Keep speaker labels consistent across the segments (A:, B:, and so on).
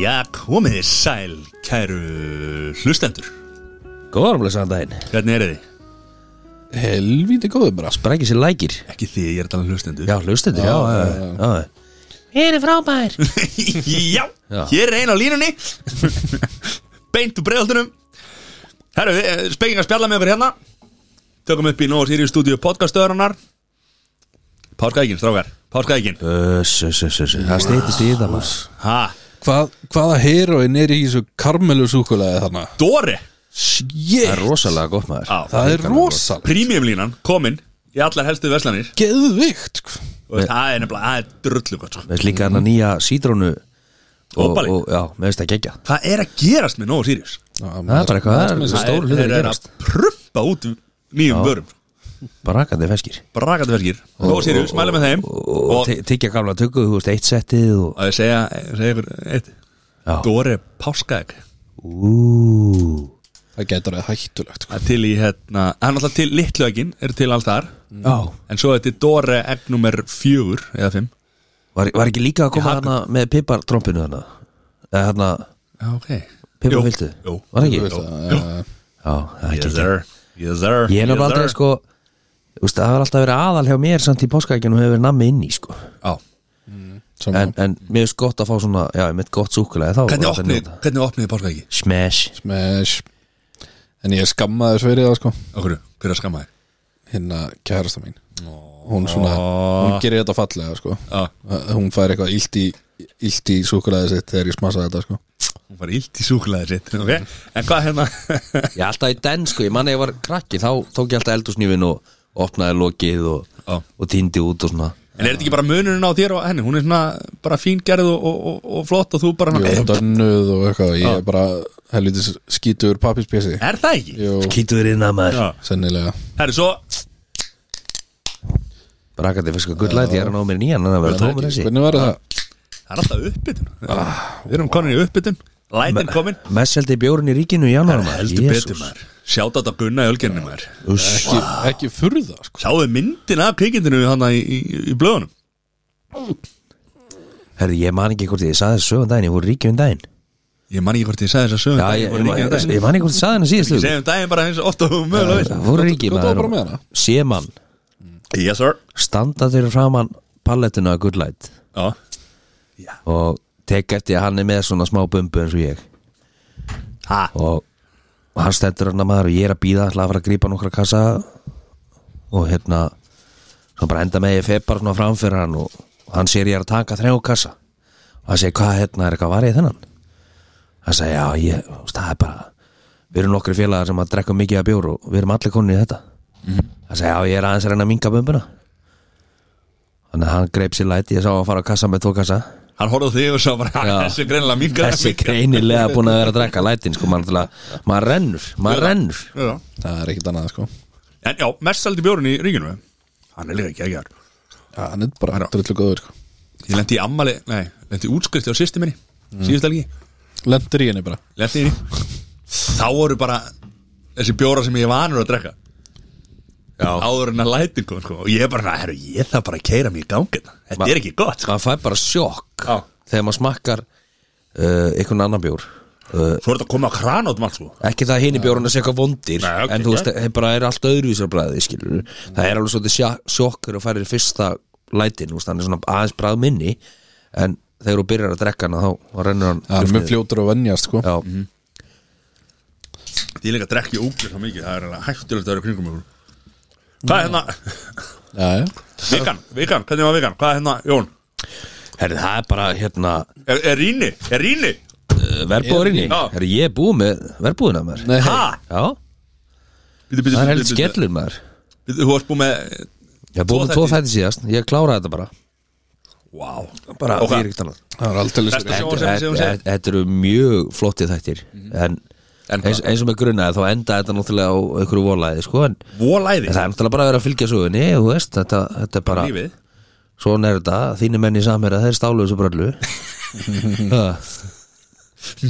A: Já, komið þið sæl, kæru hlustendur
B: Góðan og blessaðan daginn
A: Hvernig eru þið?
C: Helvíti góður bara
B: Sprækir sér lækir
A: Ekki þið, ég er að tala um hlustendur
B: Já, hlustendur, já, já, já, já. Hér er frábær
A: Já, hér er ein á línunni Beint úr bregðaldunum Herru, spekinga spjalla með okkur hérna Tökum upp í Nóa Sirius stúdíu podcastöðurinnar Páskaækin, strákar, páskaækin
B: Það steytist í það maður
A: Ha,
C: Hvað, Hvaða heroin er í þessu karmelu súkulega þarna?
A: Dóri
B: Það er
C: Shit,
B: rosalega gott maður
A: Já.
C: það er rosal
A: Prímjumlínan, komin í allar helstu veslanir
C: Geðvikt
A: Og það er nefnilega, það er drullu gott sko.
B: Mér finnst líka hann að nýja sítrónu
A: Óbali.
B: Já, mér finnst það gegja
A: Hvað er að gerast með Nóa Sirius?
C: Það
B: bara eitthvað, það er-
C: Það
B: Stóru
A: Það er,
B: hlutir að
A: er að
B: gerast.
A: prumpa út nýjum vörum
B: Brakandi feskir
A: brakandi verkir Nóa Sirius, mæla með þeim
B: Og
A: og
B: ty- tyggja gamla tökku, þú veist, eitt settið og
A: að ég segja, segja ykkur eitt
B: Já.
A: Dóri Páskaegg
B: Ú
C: það getur það hættulegt sko.
A: Það er til í hérna, hann alltaf til litluegin er til alls þar
B: Já
A: en svo þetta er Dóri egg nummer fjögur eða fimm
B: Var, var ekki líka að koma hana með pipartrompinu hana Eða hana,
A: Já, ok
B: piparfyltu
A: Jú.
B: Var ekki?
C: Þú veist það, eh,
B: Já, það er
A: Yes
B: ekki
A: sir, yes sir
B: Ég er
A: yes,
B: nefnilega
A: sir.
B: aldrei sko úst, Það hefur alltaf verið aðal hjá mér samt í páskaækjunum hefur verið nammi inn í sko
A: Já.
C: Sama
B: en, en mér finnst gott að fá svona Já, ég mitt gott súkulega þá
A: Hvernig
B: var þetta
A: opnið,
B: nota.
A: hvernig opnið Páskaeggi?
B: Smash
C: smash En ég skammaði fyrir það sko
A: Okkur, hver er að skamma þig?
C: Hérna kærasta mín Hún svona, hún gerir þetta fallega sko
A: Já,
C: Eh, Hún fær eitthvað illt í Illt í súkulega sitt þegar ég smasa þetta sko
A: hún var illt í súklaðið sitt Ok, en hvað hérna
B: Ég er alltaf í den sko, ég manna ég var krakki Þá tók ég alltaf eldusnýfin og opnaði lokið og,
A: Já.
B: og týndi út og svona
A: En er þetta ekki bara munurinn á þér og henni? Hún er svona bara fíngerð og, og, og, og flott og þú bara
C: Jú,
A: hann
C: dönnuð og eitthvað Ég er bara helvitis skítur pappispjösi
A: Er það ekki?
C: Jú,
B: Kýtuður inn að maður
A: Já.
C: sennilega
A: Herri, svo
B: Brakandi fiskar gull light, ég er að ná mér nýjan Þannig að vera tómur þessi
C: Hvernig var það?
A: Það er alltaf uppbytun
B: Ah,
A: Við erum konin í uppbytun Lætin komin
B: Messeldi bjórinn í ríkinu í janúar maður.
A: Heldur betur
B: Jesus.
A: maður Sjátt á þetta Gunna í ölgerinu maður
B: Uss.
C: Ekki, ekki furða sko.
A: Sjáðu myndin af kvikindinu hann í, í, í blöðunum
B: Herði, ég man ekki hvort ég sagði þessu sögum daginn Ég voru ríkjum um daginn
A: Ég man ekki hvort ég sagði þess að sögum
B: Já, ég, ég, ég, ég man ekki hvort ég sagði henni síðast
A: Segjum um daginn bara eins og ofta og mögulega veist
B: voru ríki
C: Gótt á bara með
B: maður
C: hana
B: sémann
A: Yes sir
B: standa fyrir framann pallettuna að gullæt
A: Já
B: og tek eftir að hann er með svona smá bumbu eins og ég
A: Ha
B: og, og hann stendur hann að maður og ég er að býða ætla að fara að grípa nokkra kassa og hérna svo bara enda með ég fer bara svona framfyrir hann og, og hann sér ég er að taka þrjá kassa og hann segir hvað hérna er eitthvað varðið þennan hann segir já ég þú veist, það er bara við erum nokkri félagar sem að drekka mikið að bjór og við erum allir konið í þetta hann segir já ég er aðeins að reyna að minga bumbuna þannig að hann greip sér læti ég sá hann fara að kassa með tvo kassa
A: Hann horfði á þig og svo bara
B: Já.
A: Þessi greinilega mingar
B: þessi greinilega búin að vera að drekka lætin sko, maður, náttúrulega- maður rennur maður rennur
A: Já
C: Það er ekkit annað sko
A: En já, mest saldi bjórun í ríkinu Hann er líka ekki að gera
C: Já, hann er bara drullu góður sko.
A: Ég lendi í ammali, nei, lendi í útskrifti á sýsti minni Síðust alveg
C: Lendir í henni bara
A: Lendi í henni. Þá voru bara þessi bjóra sem ég er vanur að drekka Já. Áður en að lætin kom sko. Og ég er bara, svona, herru, ég þarf bara að keira mig í gangin Þetta
B: Ma-
A: er ekki gott sko.
B: maður fær bara sjokk
A: Já.
B: þegar maður smakkar uh, einhvern annan bjór uh,
A: Svo er þetta að koma á krana út um allt sko.
B: ekki það að hinn í bjórun að segja eitthvað vondir
A: Nei, ok,
B: en þú veist,
A: ok.
B: þeir bara er allt öðruvísar bræði skilur. það er alveg svolítið sjá- sjokkur að færi fyrsta lætin, þú veist, hann er svona aðeins bræð minni en þegar þú byrjar að drekka hana þá, þá rennur hann
C: Það er
B: duftið.
C: mjög fljótur að venjast sko.
B: Já,
A: Ég er líka að drekka í úkir það mikið Það er hægtulegt að vera kringum ykkur Hvað er hérna,
C: Já, já.
A: vikan, vikan, hvernig var vikan? Hvað er hérna, Jón?
B: herri, það er bara hérna,
A: Er, er rýni, er rýni?
B: uh, verbúðurinni
A: Já.
B: herri, ég er búið með verbúðuna maður
C: Nei,
A: Ha?
B: já,
A: Bíddu, bíddu,
B: það er
A: bíddu,
B: heldur
A: bíddu.
B: skellur maður
A: Bíddu, Þú varst búið með
B: Ég búið með
A: Tvo
B: tvo þætti síðast, ég kláraði þetta bara
A: Vá,
B: bara
A: Ok.
B: því er ekkert annað
C: það er aldrei
A: Besta
C: sko.
A: sjón. sem- sem- sem-
B: Þetta- Þetta eru mjög flotti þættir en,
A: Mhm. En
B: eins, eins og með grunnaði þá enda þetta náttúrulega á einhverju volaði sko, en, en
A: volæði
B: það er náttúrulega bara að vera að fylgja sögunni þú veist, þetta, þetta er bara
A: Lífið
B: svona er þetta, þínu menn í samherja þeir stálu þessu bröllu Ha.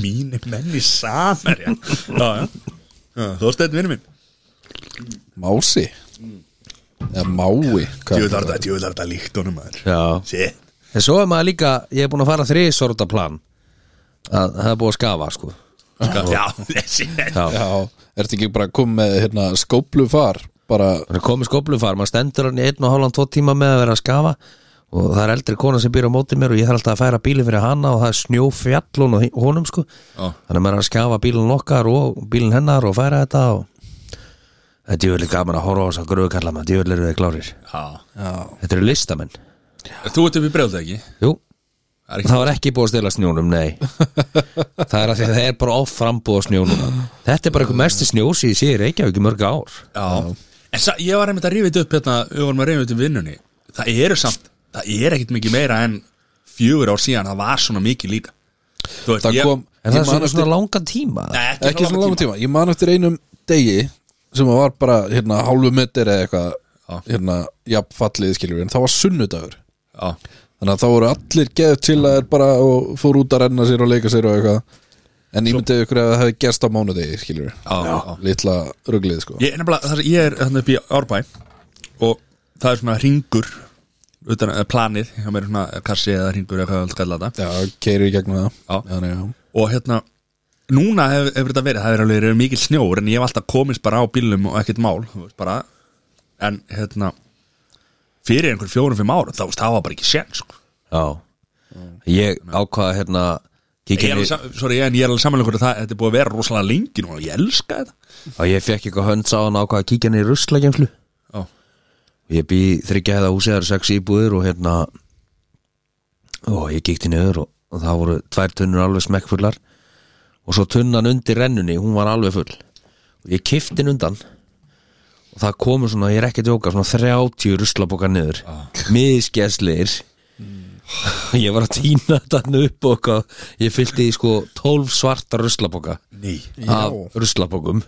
A: Mínir menn í samerja Já, já Já, Þorsteinn vinur minn
C: Mási Mm. Eða Mái hvað
A: Djöfull
C: er
A: var þetta- Djöfull var þetta líkt honum maður
B: Já
A: Shit
B: En svo er maður líka, ég er búin að fara þrið sorta plan að það er búið að skafa sko
A: Já, shit
B: Já,
C: Já, ertu ekki bara að koma með hérna, skóplu far bara,
B: það er komið skóplufar maður stendur hann í einn og hálfan tvo tíma með að vera að skafa og það er eldri kona sem býr á móti mér og ég þarf alltaf að færa bílinn fyrir hana og það er snjófjall hún og hi- honum sko
A: Já.
B: þannig að maður er að skafa bílinn okkar og bílinn hennar og færa þetta og þetta er djúvillig gaman að horfa á þess að gröðu kalla maður djúvillig eru þið klárir
A: Já
B: þetta eru listamenn
A: Þú ert upp í brjóð ekki?
B: Jú,
A: Það er
B: það var ekki búið að stela snjónum, nei það er að því að það er bara off frambúð á snjónum þetta er bara einhver mesti snjósi ég sé í Reykjavík í mörg ár
A: Já En sa, ég var einmitt að rífið upp hérna Við vorum að rífið upp í vinnunni Það eru samt Það er ekkit mikið meira en Fjögur ár síðan Það var svona mikið líka Þú veist,
C: það
A: ég
C: kom
B: en það er
C: ég man
B: svona,
C: eftir-
B: svona langan tíma
A: Nei, ekki,
C: ekki svona langan tíma ég man eftir einum degi sem að var bara hérna, hálfu metir eða eitthvað hérna, jafn fallið skiljum en það var sunnudagur
A: Já
C: þannig að þá voru allir geðt til að er bara og fór út að renna sér og leika sér og eitthvað en ég myndið ykkur að það hefði gerst á mánudegi skiljum
A: Já, já, já.
C: litla ruglið sko
A: Ég, nefnilega, það, ég er hérna upp í Árbæ Og það er svona ringur utan, eh, Planið hjá mér er svona kassi eða ringur eða hvað við skall þetta
C: já, keiri í gegnum
A: Já.
C: það þannig að
A: Og hérna Núna hefur hef þetta verið, það er alveg verið mikil snjór en ég hef alltaf komist bara á bílum og ekkert mál þú veist, bara, en hérna fyrir einhver fjórum-fimm ára þá veist, það var bara ekki sén sko.
B: Já Ég ákvaða hérna
A: Ég er
B: kíkinni,
A: alveg sam- Sorry, en ég er alveg samanlega hvort að það Þetta er búið að vera rosalega lengi núna Ég elska þetta
B: og ég fekk eitthvað hönds á hann ákvaða kíkinni í ruslagemslu
A: Já,
B: Ég bý þryggja hefða húsið þar eru sex íbúður og hérna og ég kíkti niður og, og það voru tvær tunnur alveg smekkfullar og svo tunnan undir rennunni, hún var alveg full og ég kifti henni undan og það komu svona, ég er ekki að djóka svona 30 ruslabokar niður ah. miðskesleir ég var að týna þetta upp og eitthvað. ég fyllti í sko 12 svarta ruslaboka
A: ný
B: af ruslabokum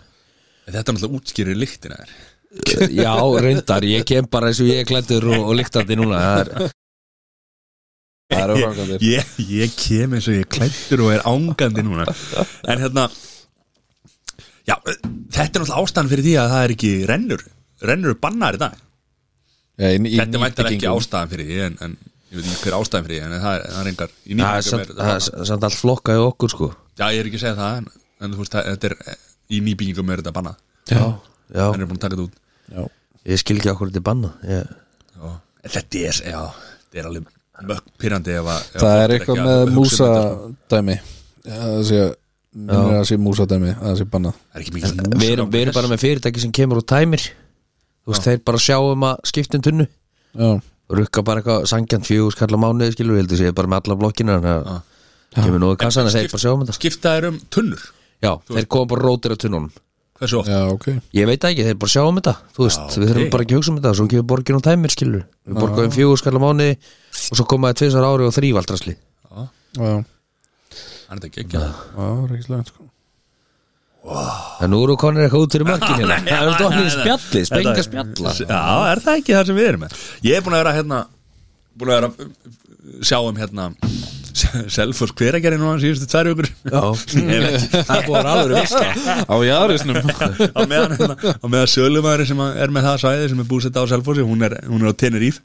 A: Þetta er náttúrulega útskýrið lyktina þér
B: Já, reyndar, ég kem bara eins og ég er klættur og, og líktandi núna Það er,
C: það eru
A: ég,
C: frangandir
A: ég, ég kem eins og ég klættur og er ángandi núna En hérna Já, þetta er náttúrulega ástæðan fyrir því að það er ekki rennur Rennur er bannar í dag Þetta er mæntar ekki ástæðan fyrir því En, en ég veit ekki hver er ástæðan fyrir því En það er, það er engar í
B: það er
A: nýbyggum er
B: samt,
A: þetta
B: það er
A: bannað.
B: samt allt flokka í okkur sko
A: Já, ég er ekki að segja það En, en þú veist, það- þetta er Í nýbyggingum er þetta bannað
B: Já, já
A: Hann er búin að taka þetta út
B: ég skil ekki okkur þetta er bannað ég...
A: Já. Þetta er, já, þetta er alveg mökk pyrrandi ef að ef
C: það
A: fólk
C: er
A: ekki
C: eitthvað
A: að
C: með
A: hugsa um
C: músa
A: þetta, sko.
C: dæmi það sé minnir að það sé músa dæmi að það sé bannað
A: Það er ekki mikið
B: Við erum, vi erum bara með fyrirtæki sem kemur og tæmir Þú veist, þeir bara sjáum að skiptin tunnu
C: já,
B: Rukka bara eitthvað sangjant fjögur skalla mánuði skilur Ég heldur sér bara með alla blokkina Þannig að kemur nógu kassan að þeir bara sjáum þetta
A: Skipta þér um tunnur
B: Já, þeir koma bara rótir á tunnunum
A: Hversu oft?
C: já, ok
B: Ég veit það ekki, þeir bara sjá um þetta Þú veist, við þurfum
A: ok.
B: bara ekki að hugsa um þetta Svo gefur borgin og tæmir skilur Við borgum um fjögur skalla mánuði Og svo komaði tvisar ári og þrývaldrasli
A: Já,
C: já,
A: hann er þetta ekki ekki
C: já, reikislega sko.
B: En nú eru konir eitthvað út fyrir mörkin hérna Það eru dóknir spjalli, spenga spjalla
A: Já, er það ekki það sem við erum með Ég er búin að vera hérna Búin að vera uh, sjá um hérna Selfos hveragerði núna síðustu tværi okkur
B: Já,
A: Ég veit ekki
B: það er búin alveg veist
C: á jáðurisnum
A: á meðan, hérna, á meðan sölumæður sem að er með það svæði sem er búsett á Selfossi hún er, hún er á Teneríf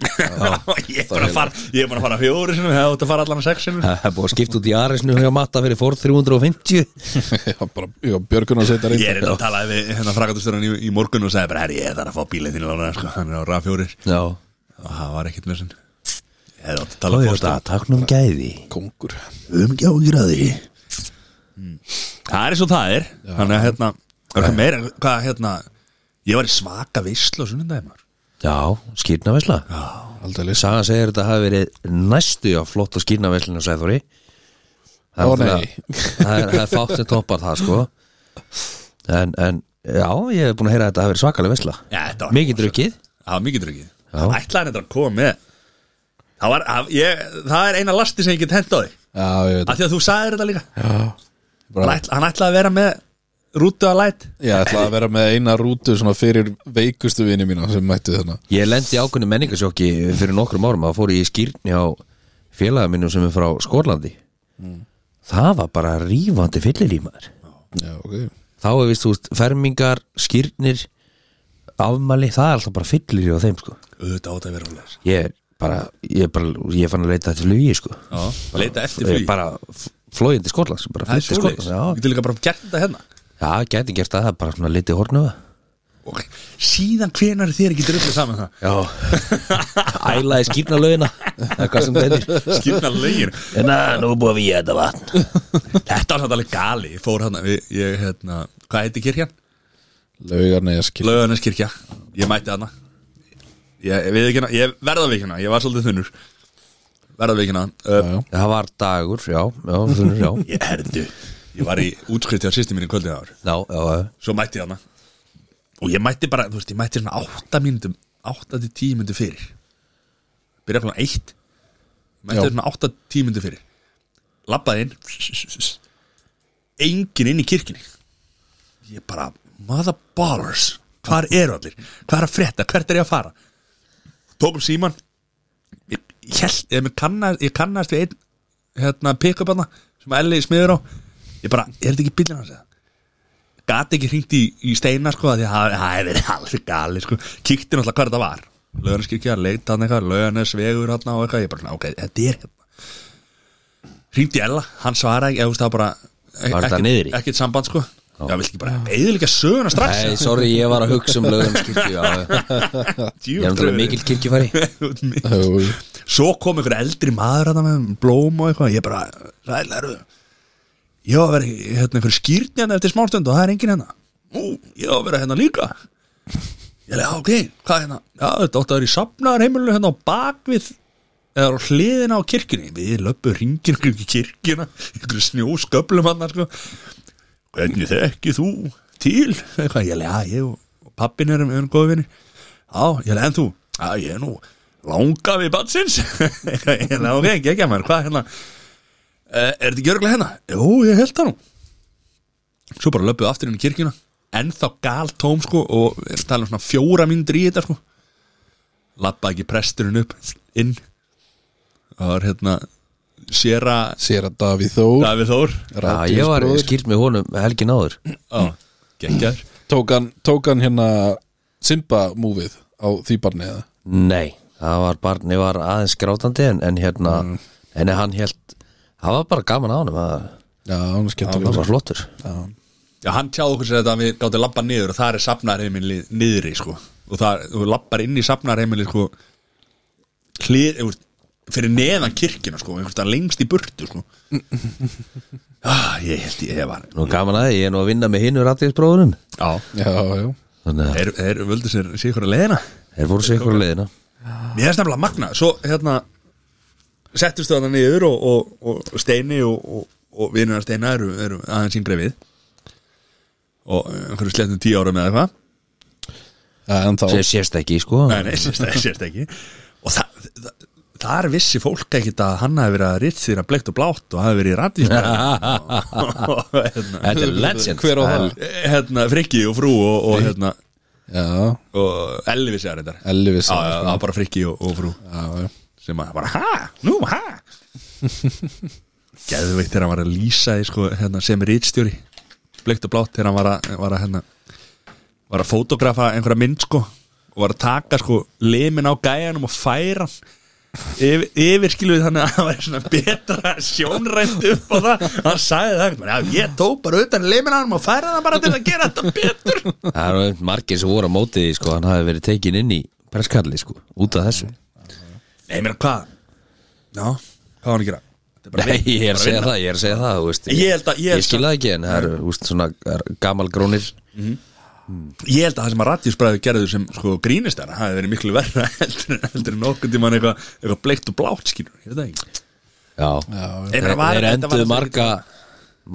A: ég er bara að fara ég er bara að fara fjóri sinum það átt að fara allan að sexinu
B: Það er búin að skipta út í aðreysnu hjá matta fyrir Ford 350
C: já, bara já, björgun að setja
A: ég
C: reynd
A: er hérna að tala við hérna frakatursturinn í, í morgun og sagði bara herri ég þarf að fá bílinn þín lána sko, hann er á raf fjóri
B: Já,
A: og það var ekkit með sinn ég hefði átt að
B: það
A: tala
B: er þetta Taknum gæði
C: kongur
A: um gjáðir að því það er eins og það er þannig að hérna er hvað meira, hvað, hérna, ég var í svaka veislu á sunnundaginn maður.
B: Já, skýrnaveisla
C: aldrei list
B: Sagan segir þetta hafi verið næstu á flott og skýrnaveislinu sæðvori Það
C: Ó,
B: er náttúrulega-
C: nei.
B: það er- það er fátt sem toppar það sko En, en já, ég hef búin að heyra að þetta hafi verið svakalega veisla
A: Já, þetta var-
B: Mikið drukkið
A: Það var mikið drukkið Það ætlaði þetta að koma með Það, var, að, ég, það er eina lasti sem ég get hent á þig
C: já, ég veit
A: Af því að þú sagðir þetta líka
C: já,
A: Hann
C: bara,
A: ætla- Hann ætlaði að vera með rútu að læt
C: ég ætla að vera með eina rútu svona fyrir veikustu vini mína sem mættu þarna
B: Ég lendi ákveðni
A: Mm.
B: menningasjóki fyrir nokkrum árum að fór ég í skýrni á félaga mínum sem er frá Skorlandi það var bara rífandi fyllir í maður
C: Já, ok
B: þá er vist, þú veist, fermingar, skýrnir afmæli, það er alltaf bara fyllir í á þeim, sko
A: auðvitað á þetta að vera hún
B: ég er bara, ég er bara, ég er fann að leita til flugi, sko
A: Já, leita eftir
B: ég er
A: flugi
B: bara flóiðandi skotlands bara
A: Það er
B: flutti
A: skóðleis,
B: skotlands,
A: þú
B: já,
A: getur líka bara gert þetta hérna
B: já, gæti gert það það er bara svona litið hornuða
A: Ok, síðan hvenar þér ekki drullið saman það
B: já, ælaði skýrna lögina eða hvað sem það heitir
A: Skýrna lögin
B: en að, nú er búið að víja þetta vatn
A: Þetta var samt alveg gali, ég fór hérna við- Ég, hérna, hvað heiti kirkjan?
C: Laugarni að skilja
A: Laugarnes kirkja, ég mætti hana Ég, við ekki hana, ég verða við ekki hana Ég var svolítið þunnur Verða við ekki hana uh,
B: það var dagur, já, já, þunur, já
A: Ég herðu Ég var í útskrift hjá sýsti mín í kvöldið ár
B: já, já, já,
A: Svo mætti ég hana Og ég mætti bara, þú veist, ég mætti svona 8 mínútum 8 til 10 mínútum fyrir Byrja klokkan 1 Mætti
C: Já.
A: svona 8 til 10 mínútum fyrir Labbaði inn Engin inn í kirkjunni Ég bara, mother ballers Hvar eru allir? Hvað er að frétta? Hvert er ég að fara? Tókum síman Ég, ég, hélt- ég, ég, kannast, ég kannast við einn hérna, pick-up hana sem Elli smiður á Ég bara, er þetta ekki bílinn hans eða? gat ekki hringt í, í steina sko af því að það það hefði verið alveg gali sko kíkti náttúrulega hvað þetta var lögarneskirkja, leita hann eitthvað, lögarnes vegur hann og eitthvað, ég bara, svona, ok, þetta er hérna hringti í Ella, hann svaraði ekki, eða þú veist það var bara e-
B: Var þetta
A: ekkert-
B: niðri?
A: ekkert samband sko já, vilt ekki bara eðilega söguna strax
B: Nei, sorry, ég var að hugsa um lögumskirkju Ég
A: Djú,
B: er náttúrulega mikil kirkjufæri
A: mikil
C: Já,
A: svo kom einhver eldri maður hann með blóm og eitthvað, ég bara sæl, herru ég var að vera í- hérna einhver skýrni hérna eftir smástund og það er engin hérna ú, ég var að vera hérna líka ég leið, ok, hvað er hérna já, þetta átti að vera í safnaðar hérna á bakvið eða á hliðina á kirkjunni við löpum ringin okkur í kirkjuna einhverju snjósköflum hann sko. hvernig þekki þú til eitthvað, ég leið, já, ég og pappin erum, erum góði vinni já, ég leið, en þú, já, ég er nú langa við batsins ég leið, ok, ekki að mér, hvað hérna Eh, er þetta ekki örgulega hérna? Jú, ég held það nú Svo bara löpuðu aftur inn í kirkjuna Ennþá galt tóm sko Og er að tala um svona fjóra mínútur í þetta sko Lappa ekki presturinn upp Inn Það var hérna Sera
C: sér að Davíð Þór
A: Davíð Þór
B: Já, ég var
C: radíusbróðir.
B: skýrt með honum helgin áður
A: Á, Gekkjar
C: tók hann, tók hann hérna Simba múfið á því barni eða
B: Nei, það var barni var aðeins grátandi en, en hérna, en hann held það var bara gaman á honum það
C: Já, hann er
B: það var
C: skemmtilega
B: bara flottur
A: Já, hann tjáði okkur sér þetta að við gáttum labba niður og það er safnarheimili niðri, sko og það, þú lappar inn í safnarheimili, sko hlið, eða, fyrir neðan kirkina, sko, einhvers það lengst í burtu, sko ah, Ég held ég, ég var
B: Nú gaman að því, ég er nú að vinna með hinu rættiðisbróðunum
A: Já,
C: Já, já,
B: þannig að
A: þeir, þeir völdu sér sér ykkur að leiðina
B: þeir voru sér ykkur á leiðina
A: Mér er snabla magna, svo, hérna settust þarna niður og, og, og Steini og, og, og vinur að Steina eru, eru aðeins yngri við og einhverju slettum tíu ára með eitthvað
C: já En þá,
B: sem sést ekki, sko
A: Nei, nei, sérst, sérst ekki Og það, það, þar vissi fólk ekkit að hann hafi verið að ritt síðan bleikt og blátt og hafi verið í radísbæði hérna,
B: Þetta er legend
C: Hver á það?
A: hérna Frikki og frú og, og, hérna,
C: já,
A: og Elli vissi að reyndar
C: Elli vissi
A: Já,
C: það,
A: já,
C: sko.
A: já, bara Frikki og, og frú
C: já, já
A: sem að bara, ha, nú, ha Geðveikt þegar hann var að lýsa því, sko, hérna, sem rittstjóri bleikt og blátt þegar hann var að, var að hérna, var að fotografa einhverja mynd sko og var að taka sko limin á gæjanum og færa hann yfir, yfir skiluði þannig að það var svona betra sjónrænt upp á það hann sagði það, einhvern veginn, já ég tók bara utan limin á hann og færa hann bara til að gera þetta betur
B: Það eru einmitt margir sem voru á móti því, sko hann hafi verið tekin inn í presskalli, sko út af þessu
A: Nei, ég meina hvað? Já, hvað á hann að gera? Þetta er bara
B: Nei,
A: vin-
B: ég er
A: bara
B: að segja
A: vinna.
B: það, ég er að segja það, þú veist
A: Ég held að- ég held
B: Ég skil það ekki, en það eru, þú veist, svona gamal grónir
A: Ég held að það sem að rættjúsbræði gerðu sem sko grínist hana, það hefði verið miklu verra heldur, en- heldur en nokkuð tímann eitthvað eitthvað bleikt og blátt skilur, ég veit það ekki
B: Já,
C: já.
A: Þeir-
B: þeir,
A: var- þetta var
B: þeir enduðu
A: þessi-
B: marga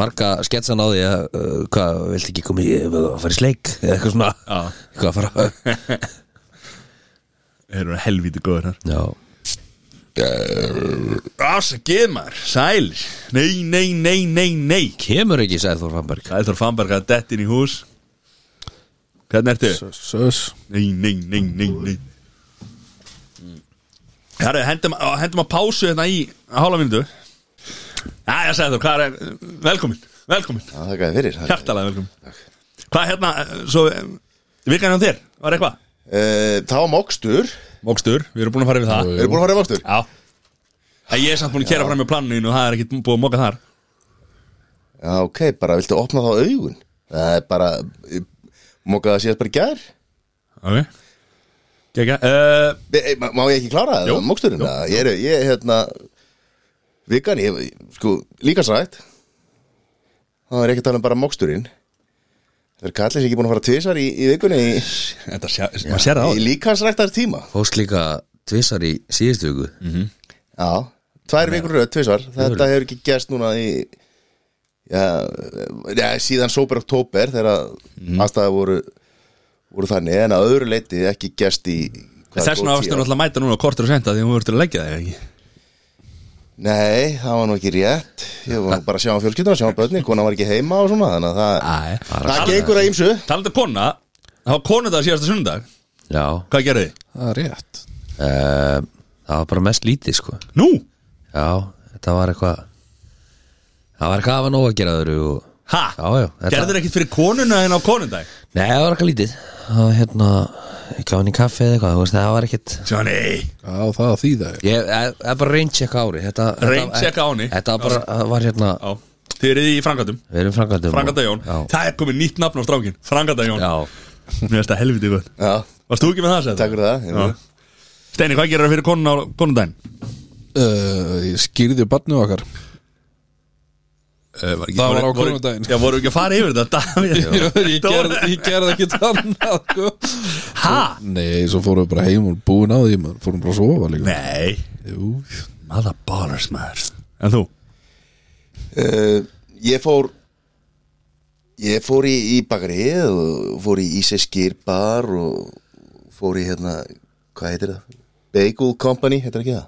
B: marga sketsan á því að uh, hvað, vilt ekki koma í, að fara í sleik eða eitthvað svona
A: Já.
B: eitthvað að fara
A: Þeir eru helvíti góður þar
B: Já,
A: Ásakið maður, sæl Nei, nei, nei, nei, nei
B: kemur ekki, sagði Þór Fannberg
A: Æður Fannberg að dett inn í hús Hvernig ertu?
C: Sös, sös
A: Nei, nei, nei, nei, nei Herru, hendum, á, hendum að pásu hérna í hálfa mínútu Jæja, Sæður, hvað er, velkomin, velkomin,
D: Það er gæði fyrir það.
A: hjartalega velkomin Hvað hérna, svo, vikan hjá þér, var eitthvað?
D: Eh, Það var mokstur Við
A: Mókstur, við erum búin að fara yfir það
D: erum búin að fara í mokstur
A: Já En ég er samt búin að kera fram með planinu og það er ekkert búin að móka þar
D: Já, ok, bara viltu opna þá augun Það er bara Mókaða síðast bara í gær
A: Ok Gekka, uh,
D: Be- e, ma- Má ég ekki klára
A: Jú.
D: það? Moksturinn?
A: Jú.
D: eða? Ég er, ég er hérna Vikan, ég, sko, líka sætt Það er ekki að tala um bara moksturinn Það er kallið sem ekki búin að fara tvisar í, í vikunni í,
A: þetta sé, maður sér það á
D: í líkansræktar tíma
B: Fóst líka tvissar í síðustu viku
D: Já, tvær vikur röð, tvisvar Þetta hefur ekki gerst núna í Já, ja, síðan sóper oktober þegar
A: Mhm.
D: mm. aðstæða voru, voru þannig en að öðru leiti ekki gerst í hvað,
A: Þess vegna
D: góð
A: ástu
D: tíu ár.
A: náttúrulega að mæta núna kortur og senda því að hún verður til að leggja það ekki
D: Nei, það var nú ekki rétt Ég var nú bara að sjá um fjölskylduna, sjá um börnin Kona var ekki heima og svona Þannig að það,
A: Æ,
D: það gengur að ýmsu
A: Talandi um kona, það var konu það síðasta sundag
B: Já,
A: Hvað gerði þið?
C: Það er rétt
B: uh, það var bara mest lítið sko
A: Nú?
B: Já, þetta var eitthvað Það var eitthvað að var nóg að gera þurru og...
A: Ha?
B: Já, já, þetta-
A: Gerður ekkert fyrir konuna en á konundag?
B: Nei, það var eitthvað lítið Það var hérna, ég gaf henni kaffi eða eitthvað þú veist, Það var ekkit
A: Johnny
C: Já, það að þýða ég
B: Ég það- það er bara reyndsjekka ári Þetta, þetta-
A: Reynchecka á henni.
B: Þetta var bara, það var hérna
A: Já, þið eruð í frangatum
B: Við erum frangandum
A: Frangatæjón,
B: Já,
A: það er komið nýtt nafn á strákin Frangatæjón,
B: já.
A: mér finnst það helviti gott
D: Já,
A: Varst þú ekki með það að segja
D: takk fyrir það
A: Já. Steini, hvað gerir það fyrir konun á konundaginn?
C: uh, Ég skýrði barnið okkar
A: Uh,
C: Það var á konudaginn.
A: Já, voru ekki að fara yfir þetta Davíð?
C: Ég gerði ég gerði ekki annað sko.
A: Ha?
C: Nei, svo fórum við bara heim og búin á því maður. Fórum bara að sofa líka
A: Nei
C: Jú,
A: Mother ballers, maður En þú?
D: uh, Ég fór Ég fór í, í bakarið og fór í Íseskir bar og fór í hérna hvað heitir það? Bagel Company, heitir ekki það?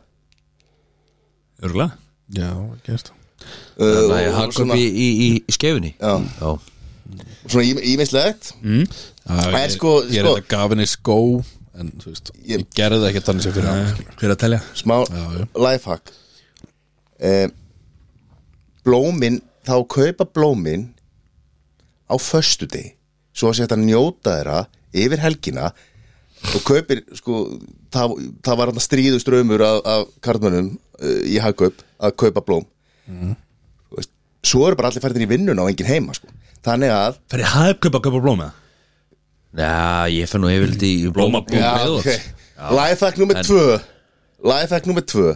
A: Örgulega?
C: já, gert
D: Uh,
B: Næ,
D: og-
B: ég
D: og
B: hakk upp
D: svona,
B: Hérna í, í, í skefinni
D: Já. svona ím- ýmislegt
C: Já,
D: En sko-
C: Ég er
D: sko-
C: þetta gaf henni skó En þú veist, ég,
D: Ég-
C: gerði það ekki þannig sem fyrir hann
A: Hver að telja?
D: smá
C: Já, já.
D: lifehack uh, blómin þá kaupa blómin á föstudegi svo að setja að njóta þeirra yfir helgina og kaupir sko, það, það var hann stríðu strömmur af, af kartmönnum uh, í hagkaup að kaupa blóm mm.
C: Mhm.
D: veist, svo eru bara allir færðin í vinnuna og enginn heima sko. þannig að
A: Fyrir hagkaupa að kaupa blóma?
B: Já, ég fann nú yfirlt í
A: Blómabúð.
B: blómabúð.
D: Já, ok. Lifehack nummer tvö Lifehack nummer tvö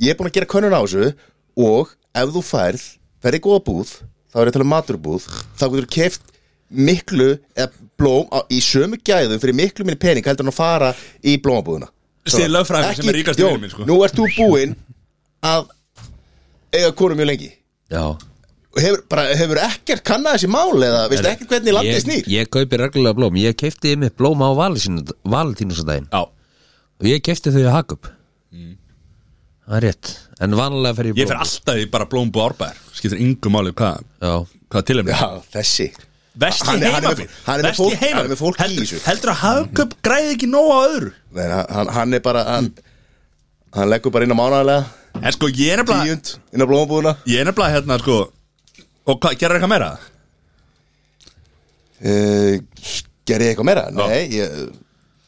D: Ég er búinn að gera könnun á þessu Og ef þú færð Ferði góða búð Þá er ég að tala um maturbúð Þá getur þú keft miklu eða blóm á, í sömu gæðum fyrir miklu minni pening heldur hann að fara í blómabúðuna
A: Stig
D: Svona.
A: lögfræðingur sem
D: Ekki-
A: er ríkasti vinur
D: Jón,
A: minn, sko.
D: Nú ert þú búinn að eiga konu mjög lengi
B: Já
D: Og hefur, bara, hefur ekkert kannað þessi mál eða veist
B: Herru,
D: ekkert hvernig landið
B: ég,
D: snýr
B: ég kaupi reglulega blóm Ég keipti yfir blóm á valentínusadaginn
A: Já
B: Og ég keipti þau að haka upp Það er rétt En vanlega fer ég
A: Mm. Ég
B: blóm
A: fer alltaf í bara blómbu árbæðar Skiptir yngu máli hvað
B: Já,
A: Hvað tilum
D: Já, þessi
A: Vesti
D: Hann er- hann er með-
A: heimafyr
D: hann er með
A: Vesti
D: fólk- hann er með
A: heimafyr
D: fólk í
A: Heldur,
D: þessu.
A: heldur að hagkaup græði ekki nóg á öðru
D: Nei, hann- hann, hann er bara hann, hann leggur bara inn á mánaðarlega
A: En sko ég er nefnilega
D: Tíund inn á blómabúðuna
A: Ég er nefnilega hérna sko Og hvað, gerir eitthvað meira?
D: uh, Gerði ég eitthvað meira? Nei, ég,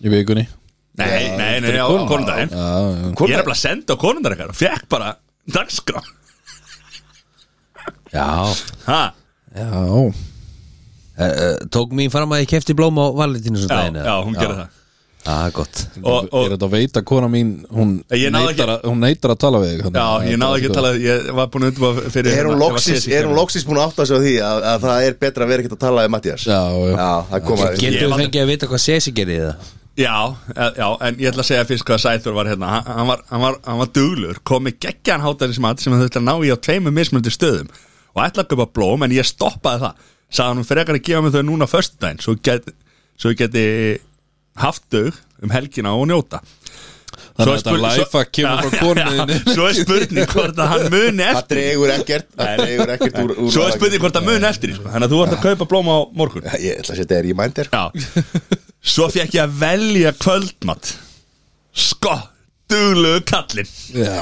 C: Í vikunni
A: Nei, nei, nei, nei, á konundaginn
C: Já, já
A: Ég er nefnilega að senda á konundar eitthvað Fekk bara dagskrá
B: já
A: Ha,
C: Já,
B: Eh, eh, Tók mín fram að ég kefti blóm á um
A: já,
B: valentínusadaginn
A: já, hún gerir það
B: Það er Ah, gott
A: Og- og-
C: er þetta að veita kona mín Hún
A: Ég náði
C: neitar,
A: ekki-
C: að, hún neitar að tala við þig þannig
A: Já,
C: að
A: ég
C: þetta
A: náði
C: er
A: ekki að tala Ég var búin að undirbúa fyrir
D: er hún
A: hérna, ef að
D: loksins,
A: sé-
D: er hún loksins búin að átta sig á því að, að það er betra að vera ekkert að tala við Mattias
C: Já, já,
D: Já, það kom að
A: Ég hef
B: Getur við
A: aldrei-
B: fengið að vita hvað sesi gerði í það?
A: Já, eh, já, en ég ætla að segja fyrst hvað Sæþur var hérna Hann- Hann var, hann var, hann var duglur Kom með geggjan hátæðismat sem hann þurfti að ná í á tveimur mismunandi stöðum Og ætla að köpa blóm en ég stoppaði það Sagði hann frekar að gefa mig þau núna Föstudaginn svo, get, svo ég geti haft dög um helgina og njóta er
C: Þannig að þetta
A: spurning- svo-
C: lifehack kemur frá
A: Já,
C: konunni
A: já, Svo er spurning hvort að hann muni
D: Það
A: eftir
D: dregur ekkert Það dregur ekkert úr, úr
A: Svo er spurning hvort að muni eftir því, sko. Þannig að þú ert að kaupa blóm á morgun
D: Ég ætla að setja þér í mændir
A: Já Svo fekk ég að velja kvöldmatt Sko duglegu kallinn
C: Já,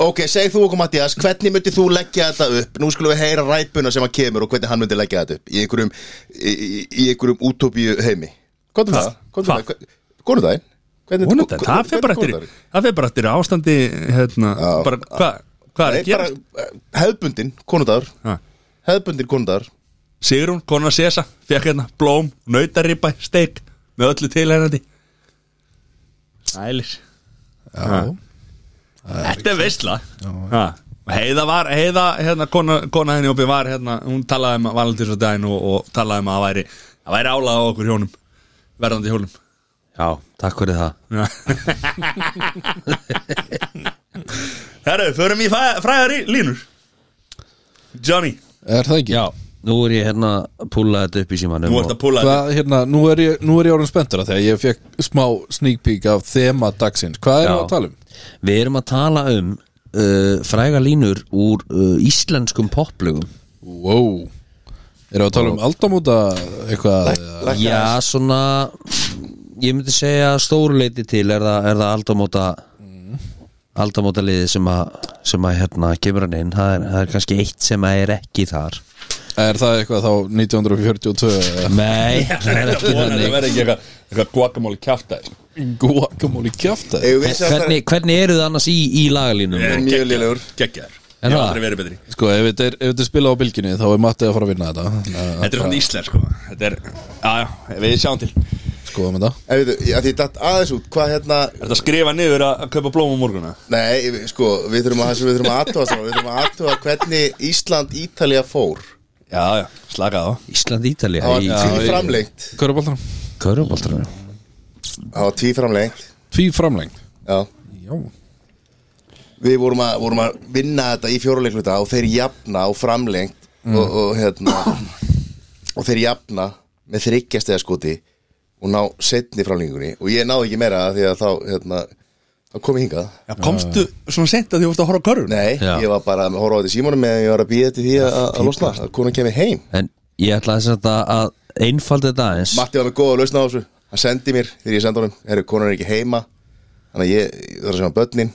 D: Ok, segð þú okkur Mattias, hvernig myndir þú leggja þetta upp? Nú skulum við heyra ræpuna sem að kemur og hvernig hann myndir leggja þetta upp í einhverjum, í, í- í einhverjum útópíu heimi Góðum
A: Hvað?
D: það, góðum
A: Hvað?
D: það, góðum það Hvernig,
A: Vonandi, það fer bara eftir það fer bara eftir ástandi hérna,
D: Já.
A: bara, hva, hvað er að gera
D: bara, eh, hefðbundin konudagur
A: Ha.
D: hefðbundin konudagur
A: Sigrún, konan að sesa, fekk hérna blóm, nautaribba, steik með öllu tilhærandi Ælis
C: já,
A: Þetta er veistla Ha. Heiða var, heiða, hérna kona, kona henni opið var, hérna, hún talaði um Valentínsardaginn og, og talaði um að það væri það væri álaga á okkur hjónum verðandi hjónum
B: Já, takk fyrir það
A: Já. Herru, förum í fæ- frægar í línur Johnny,
C: er það ekki?
B: Nú er ég hérna að púla þetta upp í símanum
A: nú ert að púla
C: Hvað, hérna, nú er ég, nú er ég orðin spenntur að þegar ég fekk smá sneak peek af þema dagsins Hvað erum
B: Já.
C: við að tala um?
B: Við erum að tala um uh, fræga línur úr uh, íslenskum popplugum
C: Wow Erum við að tala um aldamóta eitthvað
D: Lækka
B: Já, svona ég myndi segja að stóru leiti til er það, er það aldamóta aldamóta liði sem að, sem að hérna kemur hann inn það er, það er kannski eitt sem að er ekki þar
C: Er það eitthvað þá 1942 eða?
B: Nei, það er ekki
A: Það
B: þannig
A: verði ekki eitthvað eitthvað guacamole sko. kjafta
C: Guacamole kjafta
D: Eigum við sem
B: Hvernig, hvernig eru það annars í, í lagalínum?
D: er mjög lélegur.
A: Gekkjaður
B: Er
A: Ég hef
B: það?
A: aldrei verið betri
C: Sko, ef þetta er, ef þetta er spilað á bylginni þá er Matti að fara að vinna þetta Eh,
A: Þetta er svona íslensk sko. Þetta er, já, já, við sjáum til Er
C: Skoðum þetta
D: En við, að því datt aðeins út, hvað hérna
A: þetta að skrifa niður að, að kaupa blóm á morgunna?
D: Nei, við- sko, við þurfum að, það sem við þurfum að aðtúa það Við þurfum að aðtúa hvernig Ísland Ítalía fór
A: Já, já, slaka á
B: Ísland Ítalja
D: Það
B: í
D: var tví framlengt
C: Köruboltan
B: Köruboltranum
D: Það var tví framlengt
C: Tví framlengd
D: Já
C: Já
D: Við vorum að, vorum að vinna þetta í fjóruleikluta og þeir jafna og framlengt og, og hérna og þeir jafna með þryggjast eða skoti og ná setni framlengunni og ég náði ekki meira af því að þá hérna, þá kom ég hingað
A: Já, komstu svona sent að því vorst að horfa á körun?
D: Nei,
B: Já.
D: ég var bara að horfa á þetta í símanum meðan ég var að býða eftir því að, að losna að konan kemur heim
B: En ég ætlaði sem þetta að einfalda þetta aðeins
D: Matti var með góða lausna á þessu hann sendi mér þegar ég sendi honum herru, konan er ekki heima þannig að ég, ég þarf að sjá um börnin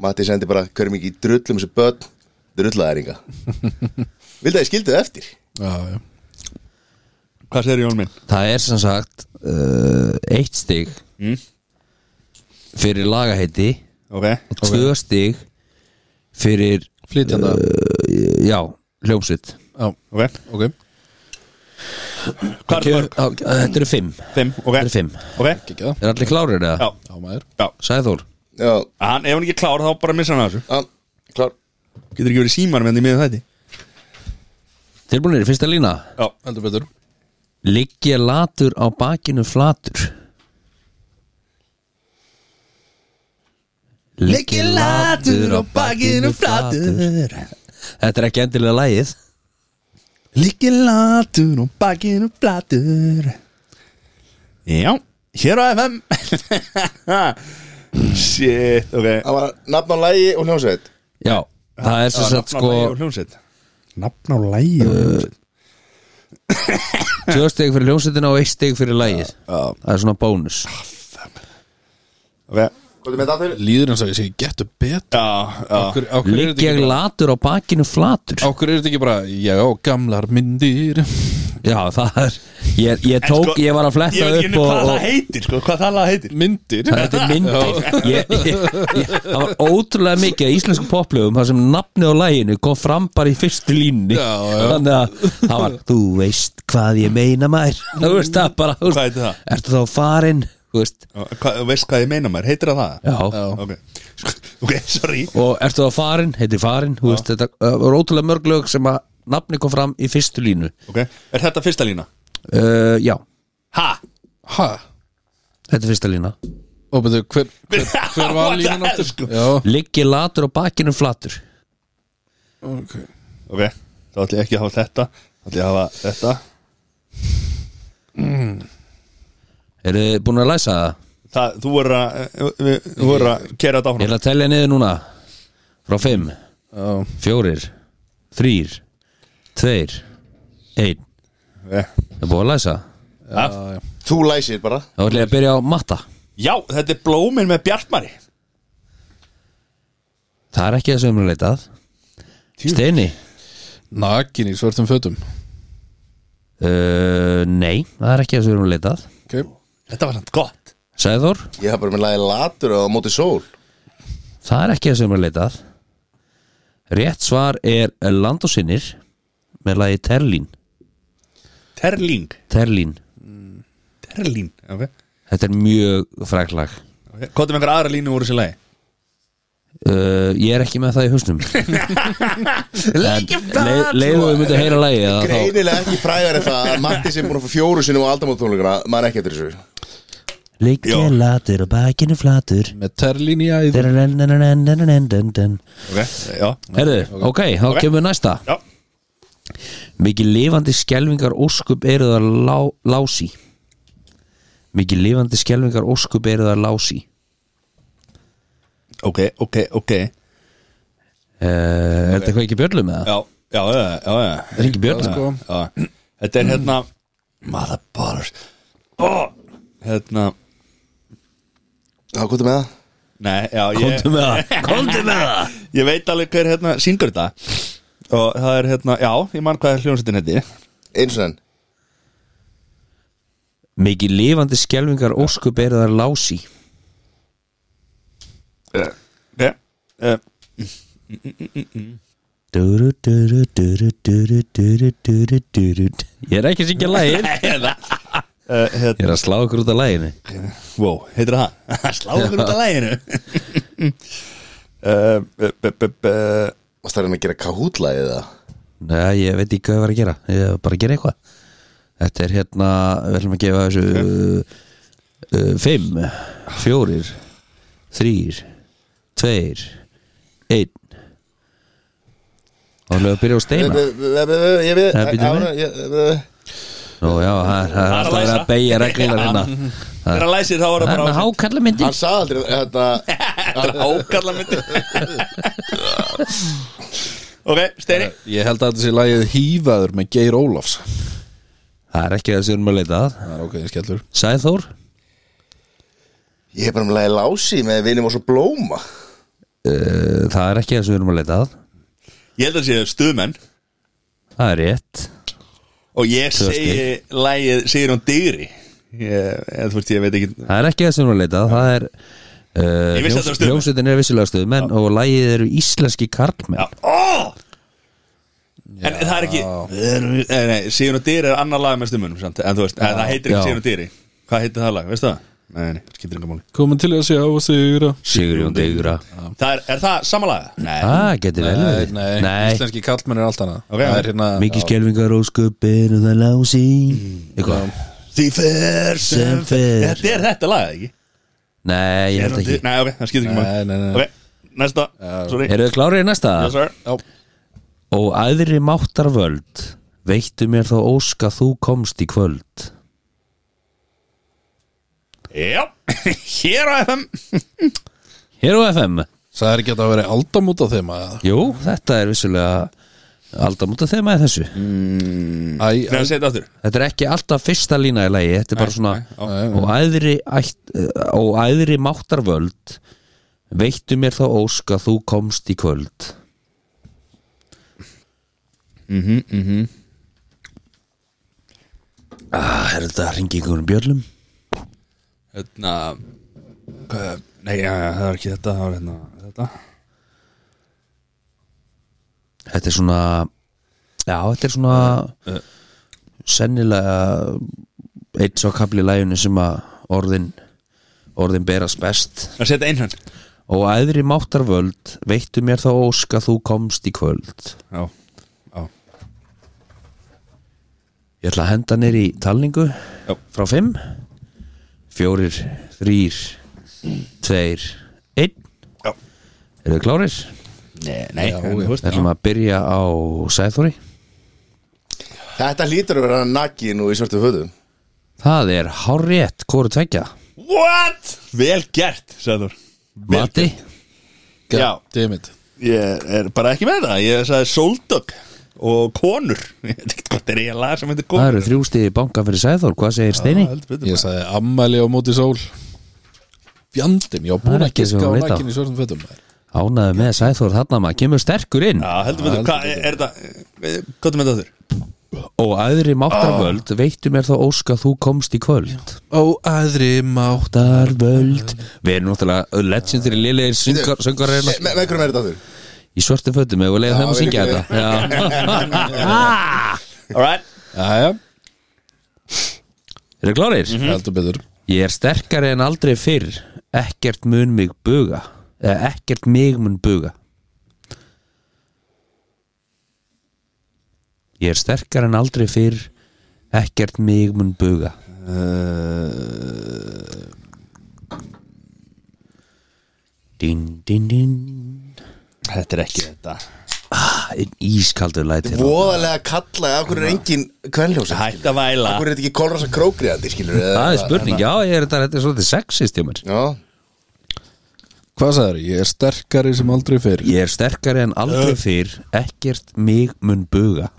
D: Matti sendi bara, hverjum ekki í drullum þessu börn drullaðæringa Vildi að ég skildi það eftir
C: Já, já
A: Hvað segir Jón minn?
B: Það er sem sagt uh, eitt stig fyrir lagaheiti
A: Ok
B: og tvö stig fyrir
C: Flytjanda
B: uh, já, hljómsveit
C: Já,
A: Ok
C: ok
A: Hvað er mörg?
B: Á- á- Þetta eru fimm
A: Fimm, ok
B: Þetta eru fimm
A: Ok
C: Ekki það
B: Er allir klárir
A: Já,
B: eða?
C: Já, maður
A: já
B: Sæður
D: Já,
A: Hann, ef hann ekki klár þá bara missa hann að þessu
D: já, klár
A: Getur ekki verið símar með því miðan þætti
B: Tilbúinir, fyrsta lína
A: Já
C: Heldur betur
B: Ligg ég latur á bakinu flatur Ligg ég latur á bakinu flatur Þetta er ekki endilega lagið
A: Liggi latur og bakinu flatur Já, hér á FM Shit, ok
D: Það var nafn á lægi og hljómsveit
B: Já, það er sem sagt sko
A: hljómsveit Nafn á lægi og hljómsveit
B: Tvö steg fyrir hljómsveitina og eitt steg fyrir lagið
A: Já.
B: Það er svona bónus
A: Ok
D: Hvað er með það fyrir?
C: Líður eins og ég sé getur betur
A: Já, já
C: Okkur, okkur er
B: Ligg
C: þetta
B: ég
C: ekki bara
B: latur á bakinu flatur
C: Okkur er þetta ekki bara Já, gamlar myndir
B: Já, það er Ég, ég
A: En
B: tók,
A: sko,
B: ég var að fletta
A: Ég veit
B: upp
A: ekki
B: og,
A: hvað það
B: og
A: heitir, sko, hvað það lag heitir
C: Myndir
B: Þetta er myndir ég, ég, ég, Það var ótrúlega mikið af íslensku poplöfum þar sem nafnið á læginu kom fram bara í fyrstu línni
C: Já, já.
B: Þannig að það var Þú veist hvað ég meina mær Þú veist það bara þú
A: Hvað
B: veist,
A: heitir það?
B: Ertu þá farin Þú veist
A: Hva, þú Veist hvað ég meina maður, heitir það það?
B: Já
C: Já.
A: Ok, ok, sorry
B: Og ertu þá farin, heitir farin Þú veist þetta uh, var ótrúlega mörg lög sem að nafnið kom fram í fyrstu línu
A: okay. Er þetta fyrsta lína?
B: uh, Já,
A: Ha?
C: Ha
B: þetta er fyrsta lína
C: Og betur, hver, hver, hver var
A: What the
C: línan
A: hell,
C: aftur?
A: sko?
C: Já,
B: Liggi latur á bakinu flatur
C: ok
A: Ok, þá ætlum ég ekki að hafa þetta Þá ætlum ég að hafa þetta
B: Eru þið búin að læsa það?
A: það, Þú voru að, eh, þú voru að kera þetta
B: Ég
A: áfram
B: er að telja niður núna Frá 5,
C: Já,
B: 4, 3, 2, 1
A: Ok.
B: Það er búið að læsa
A: Ha?
D: Þú læsir bara
B: Þá ætla ég að byrja á matta
A: Já, þetta er blómin með Bjartmari
B: Það er ekki að sem er leitað Steini
C: Nakin í svörtum fötum
B: uh, Nei, það er ekki að sem er leitað
C: okay.
A: Þetta var samt gott
B: Sæður,
D: Ég haf bara með lagi latur á móti sól
B: það er ekki að sem er leitað Rétt svar er Land og sinnir með lagi Terlín
A: Terling
B: Terlín,
A: Terling Ok,
B: þetta er mjög fræklag
A: ok Kvotum einhver aðra línu úr þessu lagi
B: uh, Ég er ekki með það í hausnum Leifum við myndi að heyra lagi eða þá-
D: Greinilega ekki fræðar en það að Matti sem búin að fá fjóru sinni á aldamóttónleikana maður ekki eftir þessu
B: Liggja latur og bakinu flatur
C: Með terlín í æð
B: Herðu,
A: Ok, já
B: ok, þá kemur næsta
A: Já.
B: Mikið lifandi skelfingar óskup eru það lá, lási Mikið lifandi skelfingar óskup eru það lási
A: Ok, ok, ok Já,
B: uh, Er þetta eitthvað ekki björlu með
A: já,
B: það?
A: já, já, já.
B: Það er ekki björlu
C: sko.
A: já. Þetta er hérna Mother bars oh, Hérna
D: Já, hvað er með það?
A: Nei, já, ég,
B: Komdu með það, komdu með það
A: ég veit alveg hver hérna syngur þetta Og það er hérna, já, ég man hvað hljónsettin heiti
D: Eins og enn
B: Mikið lifandi skelfingar óskup eru það lási
A: Ok uh,
B: Duru, duru, duru, duru, duru, duru, duru Ég er ekki að syngja lægir
A: uh,
B: Ég
A: hérna,
B: er að slá okkur út af læginni
A: Wow, heitir það? Sláðu okkur út af læginu uh, b- b- b- b-
D: Varst það að reyna að gera kahútlaði eða?
B: Nei, ég veit ekki hvað ég var að gera Ég var bara að gera eitthvað Þetta er hérna, við ætlum að gefa þessu uh, Fimm Fjórir Þrýr Tveir Einn Og hann lög að byrja á steina
D: Ég við
B: Nei, býtum við.
D: ára- ég- ég-
B: Nú já, það það er alltaf verið að beigja reglunar hérna
A: Þegar að læsir þá var það
B: Það er
A: bara
B: með hákalla myndi
D: Hann sagði aldrei hérna, þetta
A: Það er hákalla myndi Ok, Steini
C: Ég held að þetta sé lagið hýfaður með Geir Ólafs
B: Það er ekki það sem við erum að leita að
C: Það er ok, ég skellur
B: Sæþór
D: Ég hef bara með lagi lási með vinum og svo blóma
B: uh, Það er ekki það sem við erum að leita að
A: Ég held að það séu stuðmenn
B: Það er rétt
A: Og ég
B: Tvö
A: segi lægið Sigur hún digri Ég, eða þú veist, ég veit ekki
B: Það er ekki það sem við erum að leita að Það er
A: Ég vissi þetta var
B: Uh,
A: stuðmenn.
B: Ljómsveitin er vissulega stuðmenn og lægið eru íslenski karlmenn
A: Já, ó En það er ekki Nei, nei, Sigur hún digri er annar lag með stuðmennum samt En þú veist, en það heitir
B: Já.
A: ekki Sigur hún digri Hvað heitir það lag, veistu það? Nei, nei, skiptir yngur máli
C: Komin til að sjá og sigra
B: Sigurjón Digra
A: Það er, er það samalaga? Nei
B: Það getur vel verið
C: Nei, íslenski kallmenn er allt annað
A: Ok.
C: Það er hérna
B: Mikið skelfingar og skubbin og það lási Eitthvað
A: Því fer sem fer Þetta er þetta lag, ekki?
B: Nei, ég held ekki
A: Nei, ok, það skiptir ekki
C: Nei, nei, nei.
A: máli Ok, næsta, sorry
B: Eru þið klárið í næsta?
A: Yes, sir.
B: Og aðri máttar völd Veittu mér þá óska þú komst í kvöld
A: Já, hér á FM
B: Hér á FM
C: Það er ekki að það veri aldamóta þeim að
B: Jú, þetta er vissulega Aldamóta þema í þessu
C: Æ,
A: Nei,
C: æ,
A: það segir þetta aftur
B: Þetta er ekki alltaf fyrsta lína í lagi Þetta er bara svona eh, Og aðri, ætt, eh, og aðri máttar völd Veittu mér þá óska þú komst í kvöld Mhm, mhm ah, Er þetta hringingunum björlum?
A: Hérna hvað- Nei, já, já, það var ekki þetta Það var hérna þetta
B: Þetta er svona Já, þetta er svona Sennilega Eitt svo kapli læginu sem að orðin Orðin berast best
A: Það segir þetta einhvern
B: Og aðri máttarvöld Veittu mér þá óska þú komst í kvöld
A: Já, já
B: Ég ætla að henda nýr í talningu
A: Já.
B: Frá fimm Fjórir, þrýr Tveir, einn
A: Já.
B: Eru þið klárir?
A: Nei, nei, þú veist
B: Við ætlum að byrja á Sæþóri
D: Þetta hlýtur að vera nakin og í svörtu fötum
B: Það er hárétt, hvort tvekja
A: What? Vel gert, sagði þú
B: Mati,
C: God
A: Já.
C: damn it.
A: Ég er bara ekki með það Ég sagði sóldögg og konur Ég veit ekki hvað þetta er ég að laga sem heitir
B: það
A: konur
B: eru þrjústi banka fyrir Sæþór Hvað segir Steini?
A: heldur betur.
C: Ég sagði ammæli á móti sól Fjandinn, ég var
B: Það
C: búin
B: er
C: að
B: ekki sem
C: giska á
B: hún leit á.
C: nakin í svörtum fötum maður.
B: Ánaðu með Sæþór þarna maður Kemur sterkur inn
A: Já, heldur betur, hvað er- er þetta Hvað er þetta þurr?
B: Og aðri máttarvöld Veittu mér þá óska þú komst í kvöld
C: Ó, aðri mátt
B: Máttarvöld Við erum náttúrulega legendary lélegir söngar, söngarreina
D: Me- Með hverjum er þetta þurr?
B: Í svörtum fötum Ef við leiðum
D: Já,
B: þeim að
D: við
B: syngja
D: leiðum
B: þetta Já.
A: All right
C: Jæja,
B: Eru klárir?
C: heldur betur
B: Ég er sterkari en aldrei fyrr Ekkert mun mig buga Eða ekkert mig mun buga Ég er sterkari en aldrei fyrr Ekkert mig mun buga Din, din, din
A: Þetta er ekki þetta
B: Ah, einn Ískaldur læti hérna.
D: Voðalega kalla, af hverju er engin kvenljós Af
A: Hætt að væla
D: hverju er þetta ekki kolrosa krókriðandi, skilur við
B: Það er spurning, já, ég er þetta Þetta er svolítið sexist hjá mér
D: Já,
C: Hvað sagður, ég er sterkari sem aldrei fyrir
B: Ég er sterkari en aldrei fyrr Ekkert mig mun buga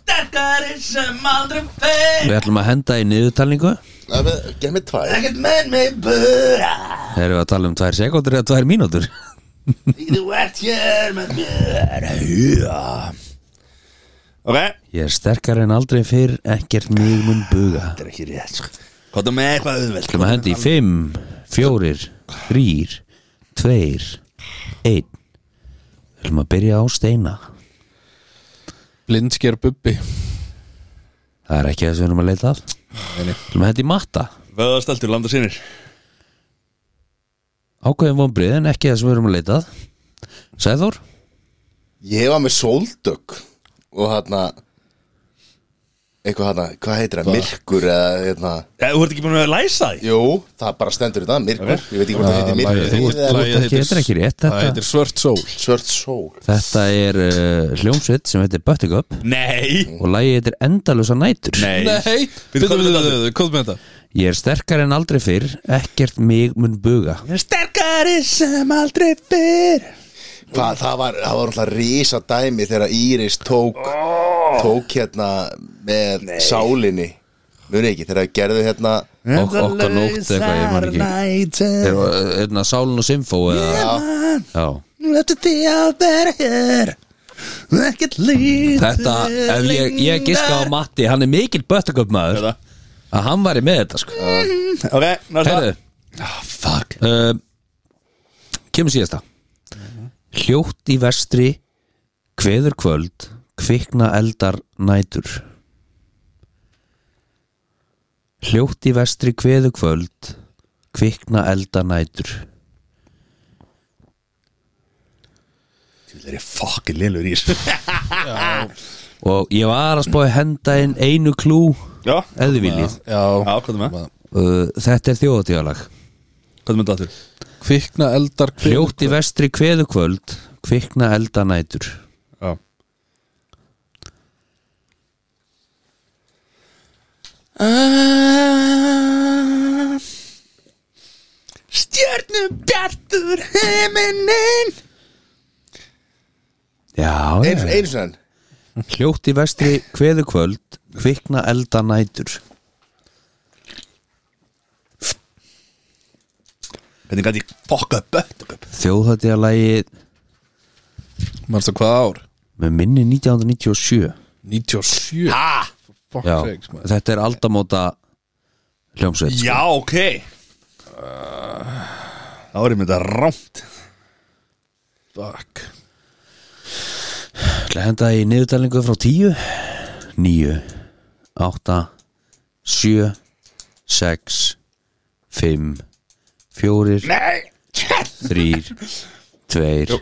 A: Sterkari sem aldrei feir
B: Við ætlum að henda í niðurtalningu
D: Það er- gerð mér tvær
A: Ekkert menn með bura
B: Erum við að tala um tvær sekúndur eða tvær mínútur?
A: Þú ert hér með mér Já Ok Þetta
B: Ég er sterkar en aldrei fyrr, ekkert mig mun buga
A: er ekki rétt sko. Hvað er með eitthvað auðveld
B: Kjum að hendi í fimm, fjórir, þrýr, tveir, einn Við ætlum að byrja á steina
C: Blindsker bubbi
B: Það er ekki það sem við erum að leita af Við ætlum að hendi í matta
A: Vöðastöldur, landa sínir
B: Ákveðin vonbrið en ekki það sem við erum að leita af Sæður,
D: Ég var með sóldögg og hérna eitthvað hérna, hvað heitir það, myrkur eða hérna,
A: ja, Eh, Þú ert ekki búin að læsa því
D: jú, það bara stendur þetta, myrkur, ég veit ekki hvort það heitir myrkur eða
B: lagið heitir- þetta er ekki rétt, þetta-
C: Það heitir svört sól
D: svört sól
B: þetta er uh, hljómsveit sem heitir Butticup
A: Nei
B: og lagið heitir Endalusa nætur
C: Nei,
A: Bíddu,
C: byrðu,
A: hvað er
C: byrðu,
A: þetta?
C: byrðu, hvað með þetta?
B: Ég er sterkar en aldrei fyrr, ekkert mig mun buga
A: Ég er Sterkari sem aldrei fyrr
D: Hvað, það var, það var alltaf risa dæmi þegar Íris tók tók hérna með sálinni muni ekki, þegar þau gerðu hérna
A: Eh?
B: Ok- okkar nótt eitthvað, ég man ekki. Er
A: ekki
B: það Sálun eh, hérna, og Simfó eða? Já
A: Þetta því að vera hér Ekkert lítið
B: Þetta, ef ég, ég giska á Matti Hann er mikil böttaköp maður Að hann væri með þetta sko
A: Ok, næsta
B: Herðu Fuck uh, Eh, Kemur síðasta Hljótt í vestri Kveður kvöld Kvikna eldar nætur Hljótt í vestri Kveður kvöld Kvikna eldar nætur
A: Það er fokkin lélur í þessu
B: Og ég var að spóið henda inn einu klú
A: Já,
B: Ef þið viljið
A: já,
C: Já,
A: hvað er með?
B: uh, Þetta er þjóðatíðalag
A: Hvað er með þetta aftur?
C: kvikna eldar kvikna-
B: Hljótt í vestri kveðu kvöld Kvikna elda nætur
A: Já Ah, Stjörnum bjartur heiminin
B: Já,
D: einu, einu sinni enn.
B: Hljótt í vestri kveðu kvöld Kvikna elda nætur
A: Hvernig gæti ég fokka bött
B: Þjóðhættiðalagi
C: Manstu hvað ár?
B: með minni 1997
C: 97
A: Ha?
C: Fuck
B: Já,
C: sakes, maður.
B: þetta er aldamóta hljómsveit sko.
A: Já, ok Þá er ég með þetta rámt
C: Fuck
B: Ætla að henda í niðurdælingu frá 10 9 8 7 6 5 4
A: Nei,
B: 3 2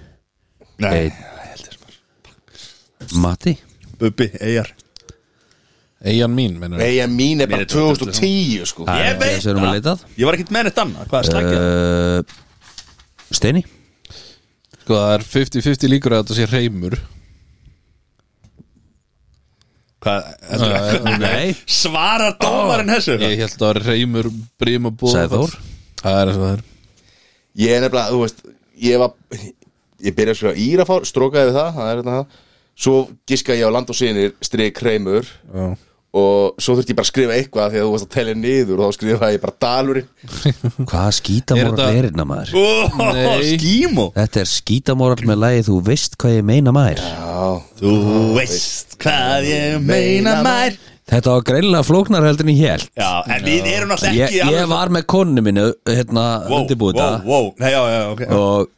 A: Nei.
B: Einn. Matti
A: sko. Bubbi, Eyjar
C: Eyjan mín, mennur
D: Nei, ég mín er bara
A: Mér er þetta
D: 2010 sko
B: Það er
A: Ég
B: ekki
A: veit
B: þessu erum að
A: það.
B: leita að.
A: Ég var ekkert með neitt annað Hvað er slækja?
B: uh, Steini
C: Sko það er 50-50 líkur að þetta sé reymur
A: Hvað,
B: eh.
A: heldur ekki
B: Nei
A: Svarar dómarinn þessu
C: Ég held að það er reymur brímabóð
B: Sæþór
C: Það er eins og það er
D: Ég er nefnilega, þú veist, ég var ég byrjaði að skrifa hérna. Írafár, strókaði við það, það er þetta það svo giskaði ég á land og sinir strik reymur
C: Já.
D: og svo þurfti ég bara að skrifa eitthvað því að þú varst að telja niður og þá skrifaði ég bara dalurinn
B: Hvað skítamóral
A: þetta-
B: er hérna maður?
A: oh,
C: Nei.
A: Skímó
B: Þetta er skítamóral með lagið Þú veist hvað ég meina maður
D: Já,
A: Þú veist hvað ég meina mær
B: Þetta var greinlega flóknar heldur en ég held
A: Já, en við erum náttúrulega
B: Ég,
A: ekki
B: ég var með konu minu hérna undirbúið
A: wow,
B: þetta
A: wow. Nei, já, já, ok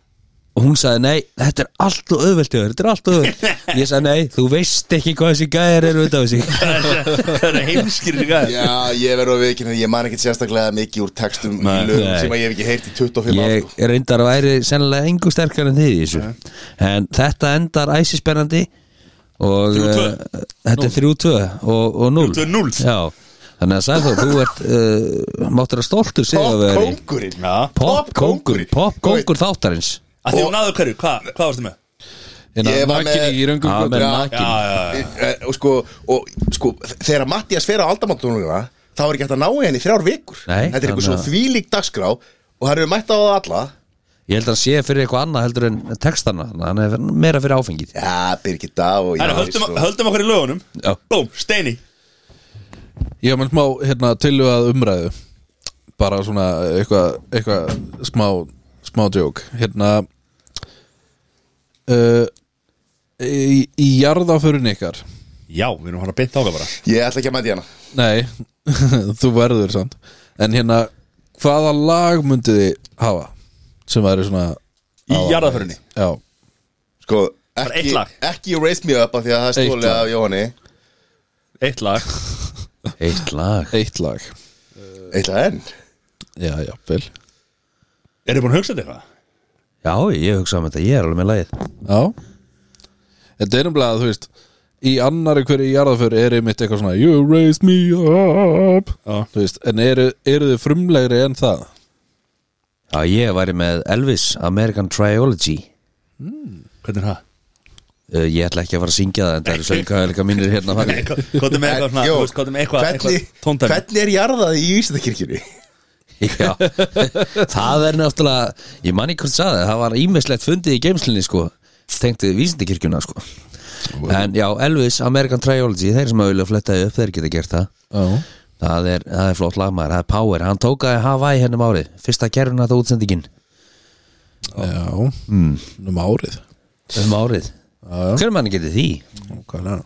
B: og hún sagði nei, þetta er allt og auðvelt hjá þér, þetta er allt og auðvelt ég sagði nei, þú veist ekki hvað þessi gæðir eru út af þessi
A: Það eru heimskir í gæð
D: já ég verður að viðkynna því, ég man ekkert sérstaklega mikið úr textum í lögum
B: Nei.
D: sem að ég hef ekki heyrt í 25 ár
B: ég
D: sko.
B: reyndar að væri sennilega engu sterkar en þið í þessu en þetta endar æsispennandi og
A: 3-2.
B: eh, þetta er 3-2 og, og 0
A: 3-2, 0.
B: Já. þannig að sagði þú, þú ert uh, máttur að stoltur segja að veri
D: Popkóngurinn
A: Já.
B: popkóngur, popkóngur þáttarins
A: Að því
D: Og-
A: hún náður hverju, hvað hvað varstu með?
C: En að
D: Ég var
C: nakinni
D: með-
C: Hérna, í röngum
B: Já, með
C: götunum.
B: nakin.
A: Já, já, já
D: Eh, og sko, og sko þegar Mattias fer á aldamáttununa þá er ekki hægt að ná í henni í þrjár vikur
B: Nei,
D: þetta er eitthvað
B: þannig
D: svo
B: að-
D: þvílík dagskrá og það eru mætt á það alla
B: ég held að hann sé fyrir eitthvað annað heldur en textana hann er meira fyrir áfengið
D: já, Birgitta og sko.
A: Herra,
D: Janis
A: höldum,
D: og-
A: höldum okkur í lögunum
B: Já.
A: Búm, Steini
C: Ég var með smá hérna, tilhugað umræðu bara svona eitthvað eitthva, smá, smá djók hérna uh, í, í jarðaförun ykkar
A: Já, við erum hann að bynda ákveð bara
D: ég ætla ekki að mæti hana
C: nei, þú verður samt en hérna, hvaða lag myndið þið hafa sem væri svona
A: Í jarðaförinni
C: já,
D: sko,
A: Bara eitt
D: ekki,
A: lag.
D: ekki Raise Me Up af því að það er
C: Eitt
D: stólið
C: lag.
D: af Jóhanni
A: Eitt lag
B: eitt lag
C: eitt lag
D: eitthvað enn
C: já, já, vel
A: Eru búin að hugsa þetta eitthvað?
B: Já, ég hugsa um þetta, ég er alveg með lagið
C: Já Þetta er umlega að þú veist Í annari hverju jarðaför er einmitt eitthvað svona You raise me up
A: Já.
C: Þú veist, En eru, eru þið frumlegri en það?
B: Já, ég væri með Elvis, American Triology
A: Hvernig er það?
B: uh, Ég ætla ekki að fara að syngja það en það eru söngaðalika mínir hérna
A: Nei,
B: þannig
A: hva- Hvað er með eitthvað
D: En,
A: svona,
D: jó,
A: þú veist, hvað er með eitthvað
D: hvernig,
A: eitthvað tóndæmi?
D: hvernig er jarðað í Íslandakirkjunni
B: Já, það er náttúrulega Ég man ekki hvort sagði, það var ímislegt fundið í geimslinni sko Tengtið vísindikirkjuna sko En já, Elvis, American Triology Þeir sem auðvitað flettaði upp, þeir geta gert það
C: Já
B: Það er, það er flott lagmaður, það er power Hann tókaði Hawaii hennum árið, fyrsta kerfuna þetta útsendingin
C: Já mm. Num árið
B: um árið Hver mann getið því?
C: Nákvæmlega.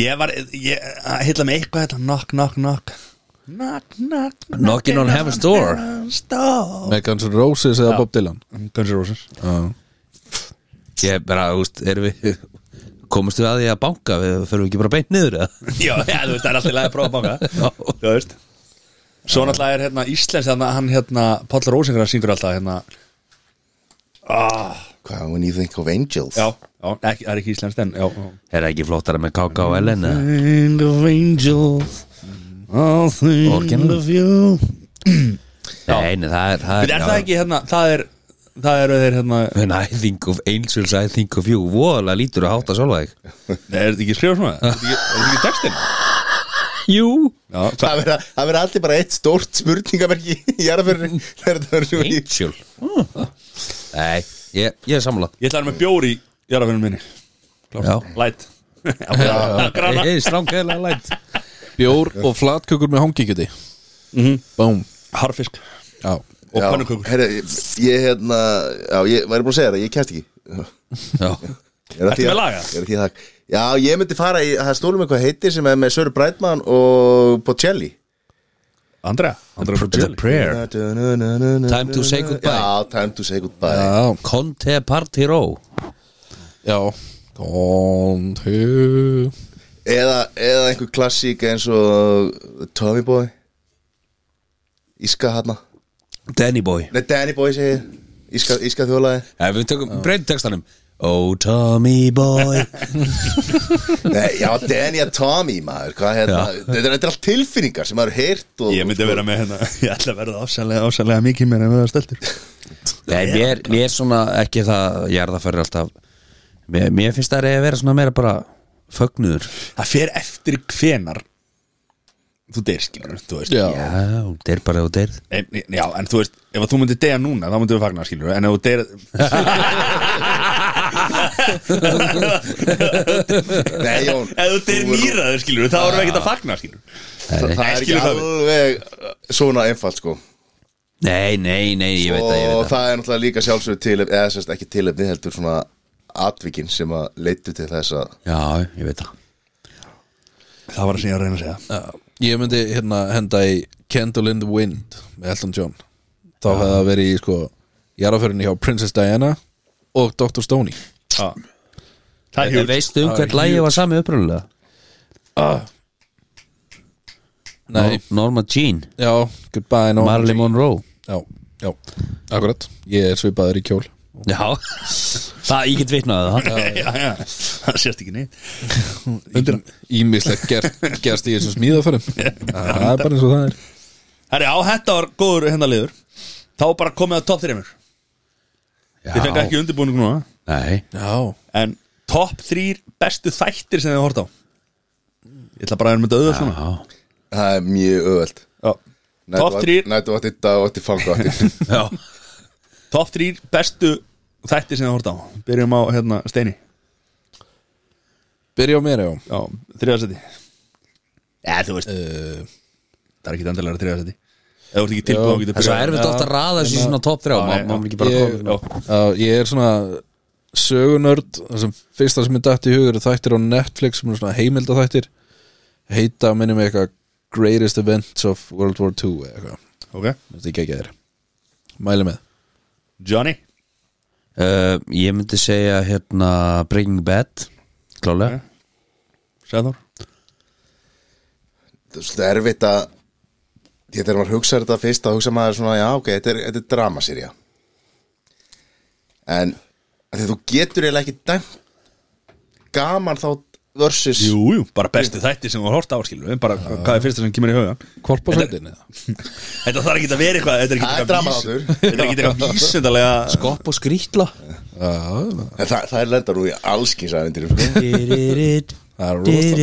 A: Ég var, ég, að hitla með eitthvað hérna Knock, knock, knock Knock, knock, knock
B: Knocking on Heaven's Door.
A: Door
C: Með Guns N' Roses eða
A: Já.
C: Bob Dylan
A: Guns N' Roses
C: Já
B: Ég bara, þú veist, erum við Komumst við að því að banka, við fyrir við ekki bara beint niður eða?
A: Já, já, þú veist, það er alltaf lagið að prófa að
B: Já.
A: banka Þú veist Svo náttúrulega er hérna Íslands hérna, hann hérna, Páll Rósingar syngur alltaf hérna ah,
D: hvað, when you think of angels
A: Já, já, ekki, það er ekki Íslands en, já, já
B: Er ekki flottara með KK og LN eða?
A: Kind of angels All
B: Orginal.
A: think of you Já.
B: Nei, nei, það er
A: Við er það ekki hérna, það er Það eru þeir hérna Nei,
B: When I think of angels, I think of you Voðalega lítur að hátta sjálfa þig
A: er þetta ekki skrifað svona? Er þetta ekki- er þetta ekki textin?
B: Jú
A: Já, hvað?
D: það verða- það verða allir bara eitt stórt spurningamerki í
A: Mm.
D: jarðaförunni þegar þetta verður svo í
B: Angel Mm. Nei, ég, ég er sammála
A: Ég ætla að vera með bjór í jarðafjörnum minni
B: Já
A: Light Já, já, granna.
B: Ég er strángæðilega lænt
C: Bjór og flatkökur með hangiðgjöti Bám
A: Harfisk
C: Já
A: og
D: Já,
A: pönnukökur
D: herri, ég, ég hérna Já, ég væri búin að segja það, ég kæst ekki
B: Já
D: Ég er
A: Ertu
D: að því
A: með
D: að-
A: laga?
D: Ég er að því að það Já, ég myndi fara í, það stólum eitthvað heitir sem er með Söru Breitmann og Bocelli
A: Andrea, Andrea
B: The
A: Bocelli
B: prayer Time to say goodbye.
D: Já, time to say goodbye
C: Já
B: Conte Party Row
C: Já Kontu
D: Eða, eða einhver klassík eins og Tommy Boy Íska hana
B: Danny Boy
D: Nei, Danny Boy segir Íska, íska þjólaði
B: Ef við tökum breyndtekstanum Oh Tommy boy
D: Nei, já, Danny og Tommy, maður Hvað hérna, þetta er- þetta er allt tilfinningar sem maður hefur heyrt og,
A: Ég myndi vera með hérna Ég ætla að verða ásælega, ásælega mikið mér en við það steltir
B: Nei, mér, mér svona ekki það Ég er það fyrir alltaf Mér, mér finnst það að vera svona meira bara Fögnuður
A: Það fer eftir hvenar Þú deyr skilur, þú veist
C: Já
B: Já, það er bara þú deyrð
A: en, Já, en þú veist, ef að þú myndir deyja núna þá myndir við fagna skilur En ef þú deyr
D: Nei, Jón
A: Ef þú deyr
D: þú er- Ah.
A: nýraður, skilur þá erum við ekkert að fagna, skilur
D: það, það er ekki
A: Skilur það við.
D: alveg svona einfalt sko
B: Nei, nei, nei, ég veit
D: og
B: það, ég veit það
D: það er náttúrulega líka sjálfsögur tilefni eða sérst ekki tilefni heldur svona atvikin sem að leitu til þess að
B: Já, ég veit það
A: Það var að segja að reyna að segja
C: Já, ég myndi hérna henda í Candle in the Wind með Elton John þá hefði það verið í sko jarðaförinni hjá Princess Diana og Dr. Stoney
A: Ah. Það er hjúl
B: Veistu um
C: Það er
B: hvert lægi var sami uppröðulega?
C: Nei,
B: Norma Jean,
C: já, goodbye no
B: Marilyn Monroe
C: Já, já, akkurat Ég er svipaður í kjól
B: Já, það ég get vitnaði það
A: Já, já, það sést ekki neitt
C: Ímislegt gerst, gerst í þessum smíðaförum Það er bara eins og það er
A: Herri, á þetta var góður hérna liður Þá var bara komið að topp þreymur Þið fengi ekki undirbúning núna
B: Nei,
C: Já,
A: En topp þrýr bestu þættir sem þið hort á Ég ætla bara að vera með þetta auðvitað svona
B: já
D: það er mjög öðvöld
A: Topp þrír.
D: nættu átti dag átti fangu átti
B: Já,
A: Topp þrýr bestu þættir sem þið hort á Byrjum á hérna Steini
C: byrja á mér já
A: Já, þriðarsæti Já, þú veist Það er ekki endalega þriðarsæti Ef þú ert ekki tilbúið þá getur
C: Já,
B: það er svo erfitt oft að raða þessu í svona top 3
A: Já,
B: Má
A: já.
B: má ekki bara
C: Ég-
B: koma
C: Já, ég er svona sögunörd það sem fyrsta sem ég dætti í hugur eru þættir á Netflix sem eru svona heimildaþættir heita minnum eitthvað Greatest Events of World War II eða eitthvað,
A: Ok,
C: þetta er ekki ekki þeir mæli með
A: Johnny
B: Uh, ég myndi segja hérna Breaking Bad
A: Eh?
B: klálega
A: Sæður
D: það er svolítið erfitt að ég þegar maður hugsa þetta fyrst að hugsa maður svona já ok, þetta er, þetta er dramasýrja en af því þú getur eiginlega ekki dæmt gaman þá versus
A: Jú, jú, bara bestu þættir sem þú hort á skilur við bara hvað er fyrsta sem kemur í huga
C: Korposveitin eða?
A: Þetta þarf ekki að vera eitthvað Þetta er
D: Það er
A: ekki eitthvað
D: dramaþáttur.
A: vís- Þetta er ekki eitthvað vísindalega
B: Gopp og skrýtla
C: Já,
D: en það, það er lendar úr í allskýrsævendir sko.
C: það er rosa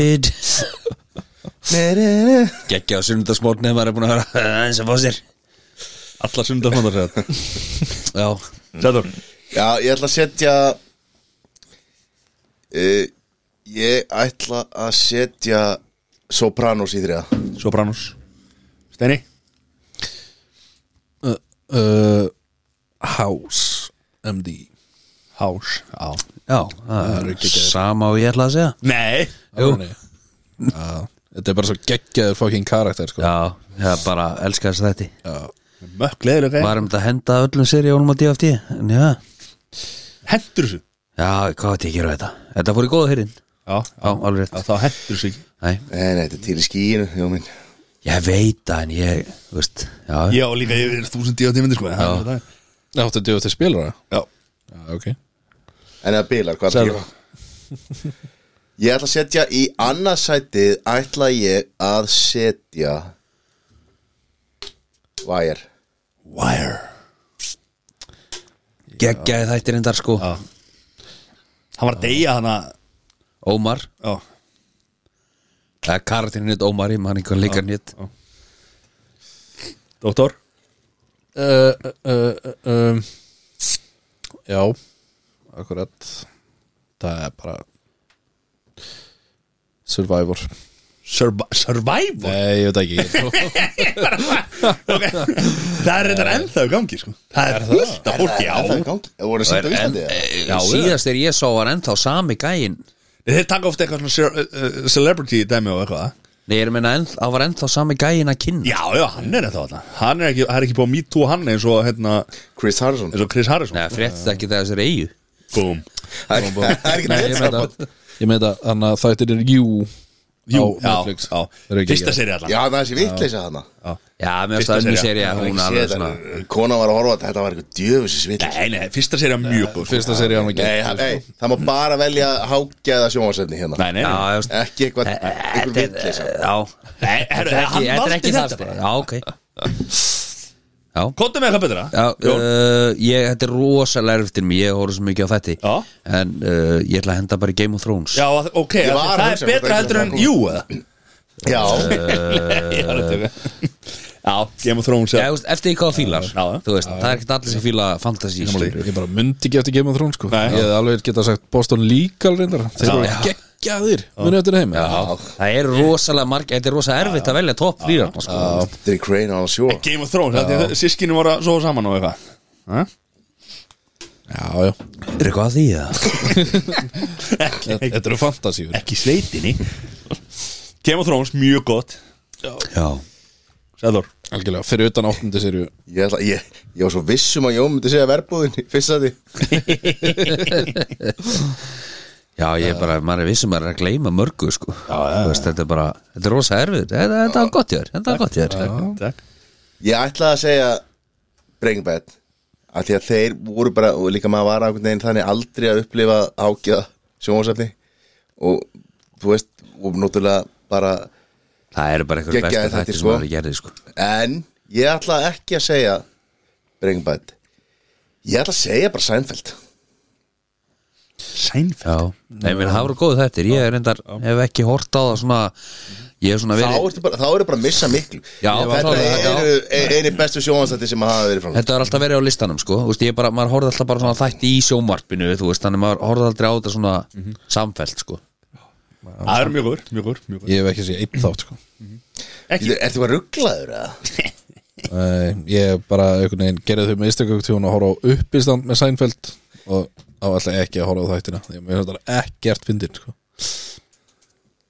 B: Gekkja á sunnudasmórn eða maður er búin að höra eins og fá sér
A: Alla sundar fannst að
B: Já,
A: segja Sæður
D: já, ég ætla að setja uh, ég ætla að setja Sopranos í þriða
A: Sopranos Steini
C: uh, uh, House MD
A: Hás Já
B: já, það er sama og ég ætla að segja
A: Nei
B: Jú.
C: Alveg. Já, þetta er bara svo geggjaður fucking karakter sko.
B: Já, það bara elska þess að þetta
A: Mökk leðilega
B: Varum þetta að henda öllum seríónum á DFT En já,
A: Hendur þessu
B: já, hvað átti ég að gera við þetta Þetta fór í góða hyrinn
A: Já
B: Já, alveg rétt
A: Þá hendur þessu ekki
B: Nei,
D: nei, nei, þetta er til í skínu, já minn
B: Ég veit það en ég, þú veist Já,
A: Já, líka yfir þúsund díu tímindi sko Það er það.
C: Áttu að djóða til spilur það?
A: Já
C: Já, ok
D: En það bilar, hvað er það? Ég ætla að setja í annað sætið ætla ég að setja Væjar
A: Wire
B: geggjaði þættir endar sko
A: Já. Hann var að deyja hana
B: Ómar
A: Já
B: Það er karakterinn hitt Ómar, ég man einhvern líka hitt
A: Dóttor
C: uh, uh, uh, um, Já Akkurat Það er bara Survivor
A: Survi Survivor
C: Nei, ég veit ekki ég tók-
A: okay. Það er reyndar ennþá í gangi sko Það er fullt af fólki á
D: Það er gangi, það voru að setja á Íslandi eða?
B: Já, eh, síðast þegar ég sá var ennþá sami gæinn
A: Þeir taka ofta eitthvað svona ce- uh, celebrity dæmi og eitthvað
B: Nei, ég er að meina, enn- það var ennþá sami gæinn að kynna
A: Já, já, hann er ennþá þarna Hann er ekki, það er ekki búið að mítú hann eins og, hérna,
D: Chris Harrison
A: eins og Chris Harrison
B: Nei, fréttist ekki þessir eigu
A: Búm
D: Það er- það er ekki
C: Nei, ég
D: neitt
C: með
D: saman
C: það Ég með það, þannig að þættir er You
A: Jú, já,
C: á Netflix.
A: já
C: Það er ekki
A: Fyrsta
C: ekki.
A: seri allan
D: Já, það er sér vitleysa þarna
B: Já, mér
A: Fyrsta
B: finnst það önnur
A: sería.
B: serið Hún
D: Sér
B: alveg
D: þetta,
B: svona
D: Konan var að horfa á þetta, þetta var eitthvað djöfusis vitleysa
A: Nei, nei, fyrsta seri var mjög góð sko.
C: Fyrsta seri hann að
D: Nei,
C: gera
D: það- nei, það má bara velja hágæða sjónvarsefni hérna
A: Nei, nei,
B: Já,
A: nei
B: ég veist
D: Ekki eitthvað, eitthvað
B: eh, Þetta er-
D: Eh,
B: eh,
D: vitleysa
B: Já,
A: Nei, herru,
B: þetta er
A: hann
B: ekki- þetta er
A: valdi
B: ekki það sko.
A: þetta bara
B: Já, ok
A: Kóttu með eitthvað betra
B: Já,
A: Jón.
B: uh, ég, þetta er rosalega erftir mér Ég horf svo mikið á þetta
A: Já.
B: En uh, ég ætla að henda bara í Game of Thrones
A: já ok,
D: Ég var
A: það
D: að hugsa
A: er
D: um þetta,
A: betra
D: ég
A: heldur
D: var
A: en
D: að-
A: Jú, eða
D: Já,
A: Ég var að taka. Já, Game of Thrones
B: Já, þú veist, eftir því hvað þú fílar
A: Já, já.
B: Þú veist, það er ekkert allir sem fíla fantasy skilur við.
C: Ég bara myndi ekki eftir Game of Thrones sko
A: Nei.
C: Ég hefði alveg geta sagt Boston Legal reyndar Þeir
B: Já,
C: eru
B: já.
C: geggjaðir Muni eftir þeim
B: Já, það er rosalega marg Þetta er rosalega erfitt að velja topp þrýra sko.
D: Þetta er Crane on Shore
A: Eh, Game of Thrones, þetta sískinu voru að sofa saman og eitthvað Eh? Ha?
C: já, já.
B: Er eitthvað að því að?
C: Þetta eru fantasíur
A: Ekki í sveitinni Game of Thrones, mjög gott
B: Já
A: Sæður
C: Algjörlega, fyrir utan áttundu serju
D: ég, ætla, ég, ég var svo viss um að Jón myndi segja verbúðin Fyrst að því
B: Já, ég er bara, maður er vissum að maður er að gleyma mörgu sko. já, já, veist, Þetta er bara, þetta er rosalega erfitt Þetta þetta var gott hjá þér, þetta var gott sko. hjá þér
A: Takk
D: Ég ætlaði að segja Brengbett að því að þeir voru bara og líka maður var einhvern veginn þannig aldrei að upplifa ágjöða sjónvarsefni og þú veist og náttúrulega bara
B: Það eru bara eitthvað bestu
D: Geggjaðir þættir,
B: þættir sem
D: sko.
B: maður er gerði sko.
D: en ég ætlaði ekki að segja Brengbett ég ætla að segja bara Seinfeld
A: Sænfell
B: Já, nei, menn það voru góðu þættir Ég er reyndar, hef ekki hort á það svona Ég er svona
D: þá
B: verið
D: eru bara, þá ertu bara að missa miklu
B: Já,
D: þetta
B: klálega, já.
D: eru e- eini bestu sjónvarsefni sem hafa verið frá
B: Þetta er alltaf verið á listanum sko Þú veist, ég bara, maður horfði alltaf bara svona þætti í sjómarpinu Þú veist, þannig maður horfði aldrei á þetta svona samfellt sko
A: Það er mjög góður, mjög góður, mjög góður
C: Ég hef ekki séð einn þátt sko
D: Ertu ertu bara rugglaður eða?
C: Nei, Ég hef bara einhvern veginn gerði þau með ístökkum til hún að horfa á uppistand með Seinfeld og á alltaf ekki að horfa á þættina því að mér finnst þetta ekkert fyndin sko.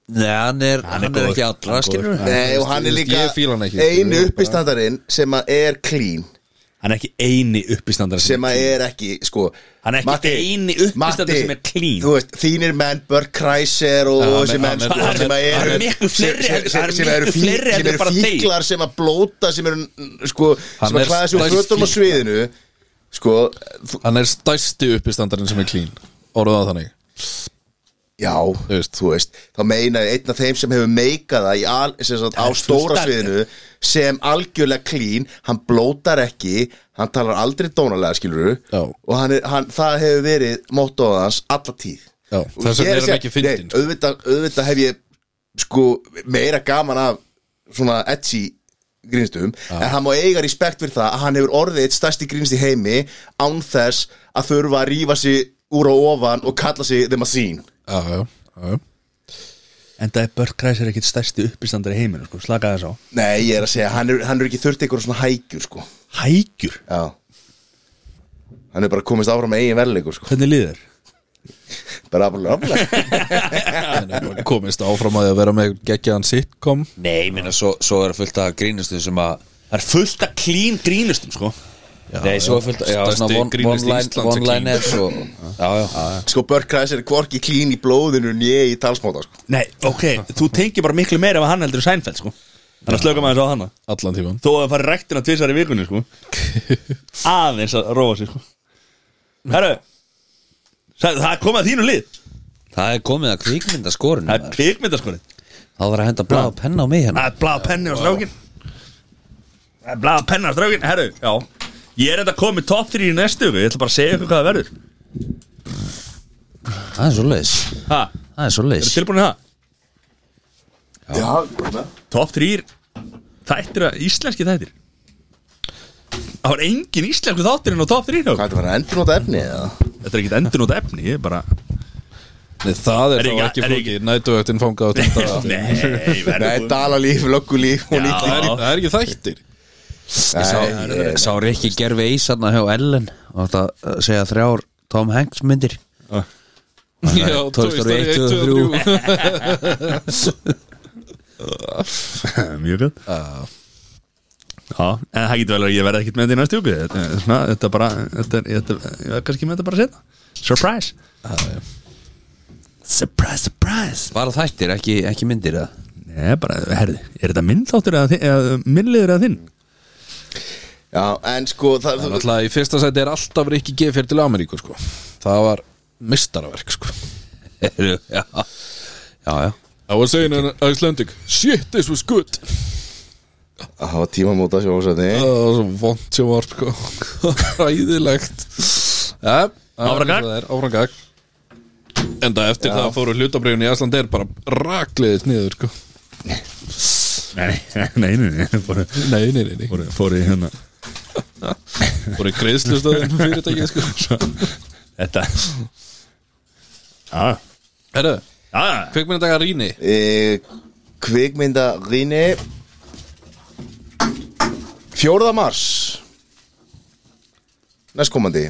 B: Nei, hann er, hann er,
A: góður.
B: ekki allra, skilur við
D: Nei og hann er
C: Ég- ég
D: líka
C: fíla hann ekki, skilur
D: einu
C: við,
D: uppistandarinn sem að er clean
A: Hann er ekki eini uppistandar
D: sem að er ekki sko
A: Hann er ekki eini uppistandari sem er clean.
D: þú veist, þínir menn, Börk Kreiser og og þessi menn sko,
A: hann er-
D: sem að
A: hann er
D: eru
A: miklu fleiri
D: sem-
A: en-
D: sem-
A: hann er
D: sem eru
A: miklu
D: fí-
A: fleiri
D: sem
A: heldur
D: eru
A: bara þeir.
D: fíklar sem að blóta sem eru mm, sko, sem
C: er
D: að klæða sig úr
C: stærsti
D: fötum á
C: fíklar.
D: sviðinu sko, þú-
C: Hann er stæsti uppistandarinn sem er clean Orðað það þannig
D: já,
C: Þú veist.
D: þú veist þá meina ég einn af þeim sem hefur meikað það í al, sem sagt, á
A: er svo
D: stóra
A: sterkt.
D: sviðinu sem algjörlega clean hann blótar ekki, hann talar aldrei dónalega skiluru
C: Já.
D: og hann er, hann, það hefur verið mótóð hans alla tíð
C: Já,
D: Og
C: Þess vegna
D: ég að
C: er hann
D: segja-
C: ekki fyndin
D: Nei,
C: sko.
D: auðvitað, auðvitað hef ég sko meira gaman af svona edgy grínstum en hann má eiga respekt fyrir það að hann hefur orðið eitt stærsti grínst í heimi án þess að þurfa að rífa sig úr og ofan og kalla sig The Machine
C: Já, já, já, já.
A: En það er Börk Kreiser ekkit stærsti uppistandar í heiminu sko. Slaka þess á
D: Nei, ég er að segja, hann er, hann er ekki þurft einhverjum svona hækjur sko
A: Hækjur
D: Já Hann er bara komist áfram með eigin verðleikur sko
A: Hvernig liður?
D: Bara aflega, aflega
C: Hann er bara komist áfram að því að vera með geggjaðan sitcom
B: Nei, minna, svo, svo er fullt að grínustu sem að
A: Það er fullt af clean grínustum sko
B: Nei, svo er fullt að, já,
C: Stærsti
B: svona one-
C: grínist
B: one-line
C: Íslands er
B: one line
C: clean.
B: er svo Já, já,
D: Sko, Börk Kræsir er hvorki klín í blóðinu en ég í talsmáta sko
A: Nei, ok, þú tengir bara miklu meira ef hann heldur Sænfell sko Þannig að slöka maður svo á hana
C: allan tíman
A: Þó að það fari rektina tvisar í vikunni sko Aðeins að róa sig sko Herru sagði- Það er komið að þínu lið
B: það er komið að kvíkmyndaskorun
A: Það er
B: Það
A: kvikmyndaskori
B: var að henda blá penna á mig hérna
A: Það er blaða penni á strákin Það er blaða penni á strákin Herru, já Ég er þetta komið top 3 í næstu viku Ég ætla bara að segja ykkur hvað það verður
B: Það er svo leis,
A: Ha,
B: það er svo leis
A: eru tilbúin í það?
D: Já, já
A: Top 3 Þættir að íslenski þættir Það var engin íslensku þáttir en á top 3 hjá
D: Hvað
A: okkur.
D: er það að fara að endur nota efni eða?
A: Þetta er ekkit endur út efni Ég er bara
C: Nei, það
A: Er
C: er,
A: ekki-
C: þá ekki
A: er ekki-
C: flókið Nætuvægtin fangað á þetta
A: Nei,
D: Nei,
A: verður
D: dalalíf, löggulíf og
A: Já.
D: nýtt líf
C: Það er- það er ekki þættir
B: Ég sá, ég sá Rikki gerfi ísarna hjá Ellen og þetta uh, segja þrjár Tom Hanks myndir
C: Já,
B: Toy Story 1, 2 og 3
A: Mjög gott Já, en það getur vel verið að ég verði ekkert með þetta í næstu viku Þetta er svona, þetta er bara þetta er, þetta, Ég verði kannski með þetta bara setna Surprise Surprise, surprise
B: Bara þættir, ekki, ekki myndir eða?
A: Nei, bara, herði, er þetta minn þáttur eða, þi- eða minnliður eða þinn?
D: Já, en sko það,
C: Það er
D: það,
C: alltaf í fyrsta sæti er alltaf Rikki G fyrir til Ameríku sko. Það var mistaraverk sko.
B: Heyrðu, Já, já, já
C: I was saying in Icelandic Shit, this was good
D: það var tímamóta sjónsæti
C: Það var svo vond sjóvar sko. Ræðilegt ja,
A: Áfram gag.
C: Áfrangag Enda eftir það fóru hlutabriðun í Iceland er bara rakliðis niður sko.
A: Nei, nei, nei, nei fóru,
C: Nei, nei, nei, nei
A: fóru, fóru í hérna
C: Voru greiðslustöðum fyrirtækið sko
A: Þetta Já,
C: Herru,
A: já,
C: kveikmyndaga rýni
D: e, Kvikmynda Rýni 4. mars Næstkomandi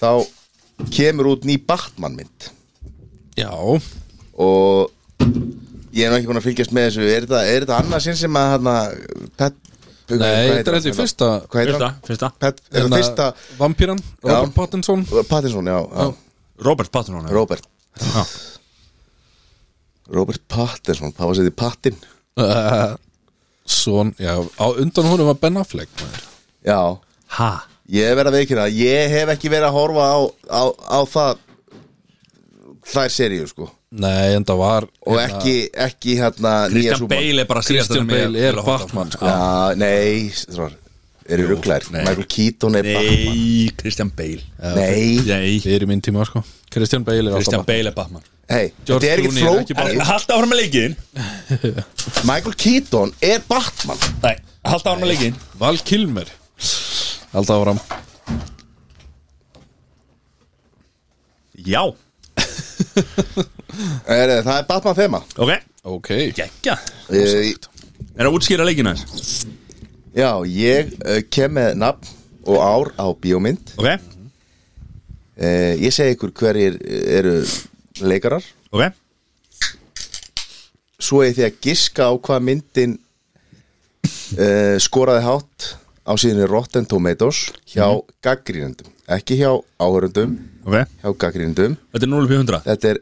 D: Þá kemur út ný Batman mynd
C: Já,
D: og ég er nú ekki búin að fylgjast með þessu er þetta, er þetta annarsinn sem að hana, pet, hvað
C: nei, þetta
D: heitir
C: er
D: hann? hérna?
C: held ég fyrsta
D: hvað heitir
A: fyrsta,
D: hann?
A: fyrsta
D: Pet, er það fyrsta
C: Hérna, Vampíran, Robert Pattinson
D: Pattinson, já, já.
A: Robert Patron
D: Robert
A: Já.
D: Robert Pattinson, það var sér því Pattin
C: uh, Svon, já, á undan honum var Ben Affleck maður.
D: já,
A: Ha?
D: Ég verð að veikina, ég hef ekki verið að horfa á, á, á það þær seríu sko
C: Nei, en það var
D: og ekki, ekki hérna nýja
A: Christian
D: súman
A: Bale er bara
C: Christian Bale er Batman sko.
D: Já, nei, þar, eru rugglar
A: nei.
D: Michael Keaton er Batman
A: Nei, Christian Bale
D: Nei,
A: Nei,
C: Við erum í minn tíma sko Christian Bale er
A: Christian
C: alltaf
A: Bale er Batman
D: hei,
C: George
D: þetta er ekki
C: Clooney er ekki
D: flókið
A: Herru, Halda áfram með leikin
D: Michael Keaton er Batman
A: Nei, halda áfram með leikin
C: Val Kilmer Alltaf áram
A: Já,
D: er, Það er Batman þema
A: ok,
C: Ok
A: geggja
D: e,
A: Er að útskýra leikina þess
D: Já, ég eh, kem með nafn og ár á bíómynd
A: Ok,
D: e, Ég segi ykkur hverjir eh, eru leikarar
A: ok
D: svo er því að giska á hvað myndin uh, skoraði hátt á síðunni Rotten Tomatoes hjá gaggrínendum ekki hjá áhörundum,
A: Ok,
D: hjá gaggrínendum
A: þetta er 0.100
D: þetta er,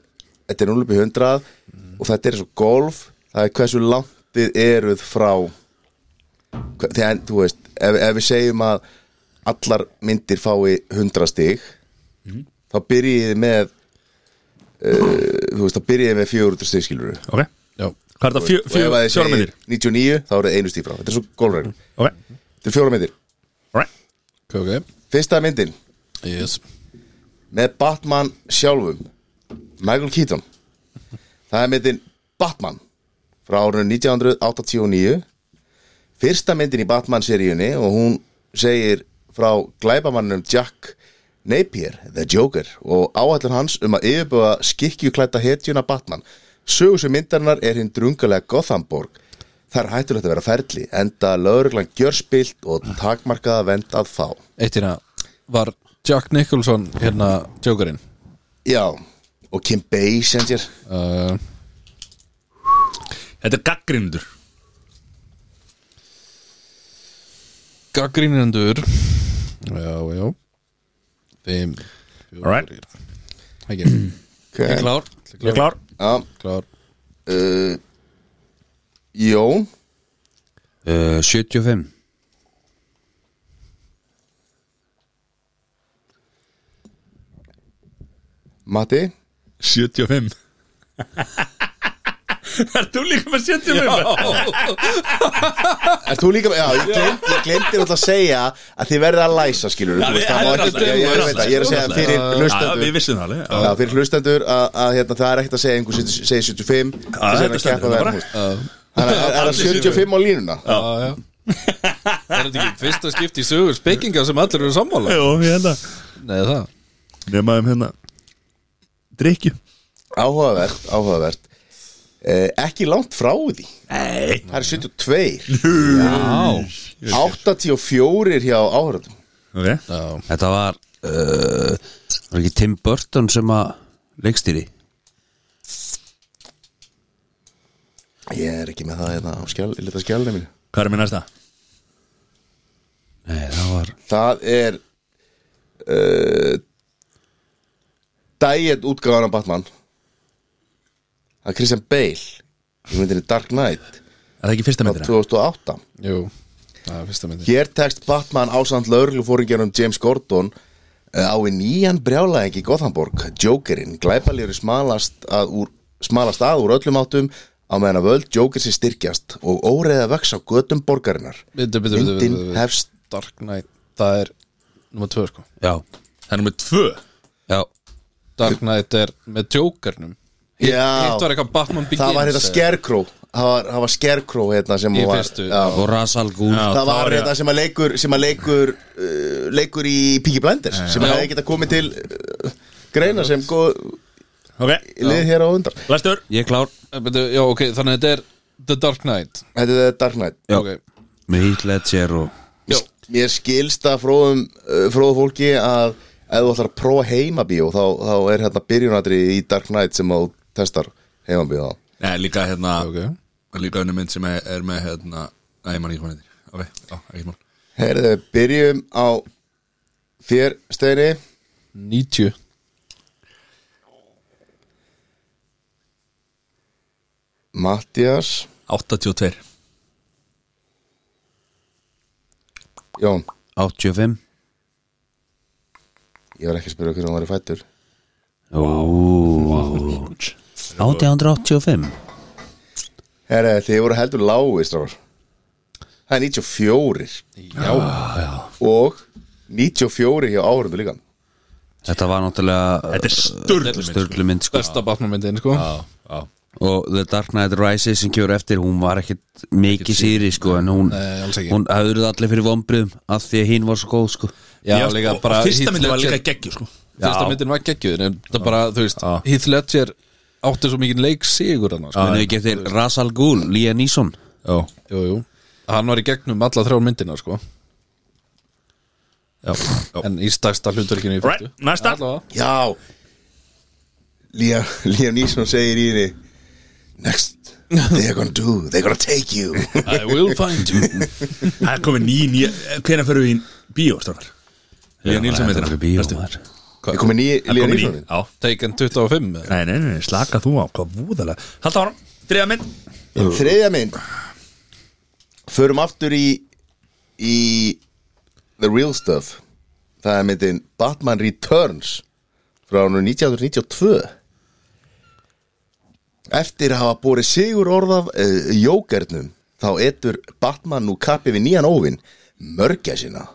D: þetta er 0 upp í 100 og þetta er eins og golf það er hversu langt þið eruð frá þegar, þú veist, ef, ef við segjum að allar myndir fái 100 stig þá byrjið þið með uh, þú veist, þá byrjið þið með 400 stig skilur
A: Ok,
C: Já
A: hvað er þetta? Fjö-
D: og ef
A: fjö-
D: að
A: Fjóra
D: þið segir
A: myndir
D: 99 þá eru þið einu stíf frá þetta er svo gólregn
A: Ok,
D: þetta er fjóra myndir
A: alright
C: Ok, ok
D: fyrsta myndin
C: Yes
D: með Batman sjálfum Michael Keaton það er myndin Batman frá árunum 1989 fyrsta myndin í Batman seríunni og hún segir frá glæbamannum Jack Napier, The Joker og áhællun hans um að yfirbúa skikkjuklæta hetjuna Batman sögur sem myndarinnar er hinn drungalega Gothamborg þar hættur þetta að vera ferli enda lögreglan gjörspilt og takmarkaða vend að fá
C: Eitt hérna Var Jack Nicholson hérna Jokerinn
D: já, og Kim Basinger
C: uh,
A: Þetta er gaggrindur
C: Gaggrínendur Já, já Fimm fjórir.
A: Alright.
C: Ekki
D: okay.
C: Klár
A: Ég er klár
D: Já,
C: Klár
D: uh, Jón
E: uh, 75
D: Matti
A: 75 Er þú líka með 75?
D: Er þú líka með, já, ég glemdi, ég glemdi náttúrulega að segja að þið verðið að læsa, skilur
A: Já,
D: þú
A: við-
D: veist, það má
A: það er
D: ekki-
A: alltaf-
D: ég- ég veit það, Ég er að segja
A: alltaf-
D: fyrir
A: Já,
D: hlustendur
A: við vissum það alveg
D: Já, fyrir hlustendur að, að hérna, það er ekkert að segja einhver seti- segir 75 það er
A: þetta stendur
D: að keppa
A: bara.
D: verðum Þannig að er það 75 á línuna
C: Já, já Er þetta ekki fyrsta skipti í sögur spekinga sem allir eru sammála?
A: Jó, ég held að
C: Nei, það
A: Nefna um hérna Drykju
D: Áhugavert, áhugavert eh, Ekki langt frá því
A: Nei
D: Það er 72 84 hjá áhörðum
A: Ok
E: Þetta var uh, var ekki Tim Burton sem að leikstýri
D: Ég er ekki með það hérna á skjál, í lita skjálni mínu
A: Hvað er mér næsta?
E: Nei, það var
D: Það er uh, Diet útgáðan af Batman Það er Christian Bale í myndinni Dark Knight
A: Er það ekki fyrsta
D: á
A: myndina?
D: 2008
C: Jú Það er fyrsta myndi
D: Hér tekst Batman ásand laurlufóringjarnum James Gordon eh, á í nýjan brjálæðing í Gothenburg Jokerinn, glæpalegur smalast að úr, smalast að úr öllum áttum á meðan að völd Joker sér styrkjast og óreiða vex á götum borgarinnar
C: Bitu, bitu, bitu, bitu,
D: Myndin
C: bitu.
D: hefst
C: Dark Knight Það er Númer 2 sko
E: Já,
A: Það er nummer tvö
E: já,
C: Dark Knight er með Jokernum Hitt
D: Já.
C: hitt var eitthvað Batman Begins
D: Það var þetta
C: eða-
D: Scarecrow það var, það var Scarecrow hérna sem
C: Í
D: var
C: fyrstu.
D: já,
F: og Rasal Gúl
A: Já.
D: það
A: þá er
D: var
A: ég-
D: hérna sem að leikur sem að leikur, uh, leikur í Piggy Blinders sem að hefði geta komið til uh, greina sem góð
A: Ok,
D: lið hér á undan
A: læstur
F: ég klár
C: Eh, byrju, Já, ok, þannig að þetta er The Dark Knight
D: Þetta er Dark Knight
F: Já.
C: Ok.
F: með Heath Ledger og
C: Já.
D: Mér skilst að fróðum uh, fróðu fólki að ef þú ætlar að prófa heimabíó þá, þá er hérna byrjunatri í Dark Knight sem þú testar heimabíó á
A: Nei, líka hérna
C: Ok.
A: Líka önnu mynd sem er, er með hérna Nei, ég man ekki hvað henni Ok, á, ekki mál
D: Herðu, byrjum á þér, Steini
C: 90
D: Mattias
A: 82
D: Jón,
B: 85
D: ég var ekki að spyrja hvernig hann var í fættur
B: Ó, 1885
D: Herra, þið voru heldur lágir strákar Það er 94 Já, já Og 94 hjá áhörundu líka
B: Þetta var náttúrulega
A: Þetta er sturlu mynd, sko.
B: Sturlu mynd sko
C: Besta Batman myndin, sko
B: Og The Dark Knight Rises sem kjóður eftir Hún var ekkit mikið síðri sko En hún,
C: Nei, alls ekki.
B: hún hafður allir fyrir vombriðum Af því að hinn var svo góð sko
C: Já,
A: Ég-
C: líka
A: og-
C: bara
A: og Fyrsta
C: Heath
A: myndin var
C: Ledger-
A: líka geggju sko
C: Fyrsta myndin var geggjöð En það bara, þú veist, Heath Ledger átti svo mikið leik sigur hann sko.
B: Mennum við getur Rasal Gúl, Lía Nísson
C: Já, jú, jú Hann var í gegnum alla þrjá myndina, sko Já, en í stærsta hluturkinu í
A: Right,
C: fyrstu
A: næsta.
C: Allavega.
D: Já Liam, Liam Neeson segir í henni Next They're gonna do, they're gonna take you
C: I will find you
A: Það er komið ný, ný Hvernig fyrir við í bíó, strókar? Líða Nílsson
B: Þetta
A: myndina
B: var bíó,
A: Veistu?
B: maður.
D: Ég komið nýja
A: Það
D: Liam
A: komið ný
D: Neeson
A: Já
C: Taken 25 eða?
A: Nei, nei, nei, nei, slaka þú á Hvað vúðalega Hald ára Þriða mynd
D: Þriðja mynd Förum aftur í Í The Real Stuff Það er myndin Batman Returns Frá árinu 1992 Eftir að hafa borið sigur orð af uh, jókernum Þá etur Batman nú kappi við nýjan óvin Mörgja sína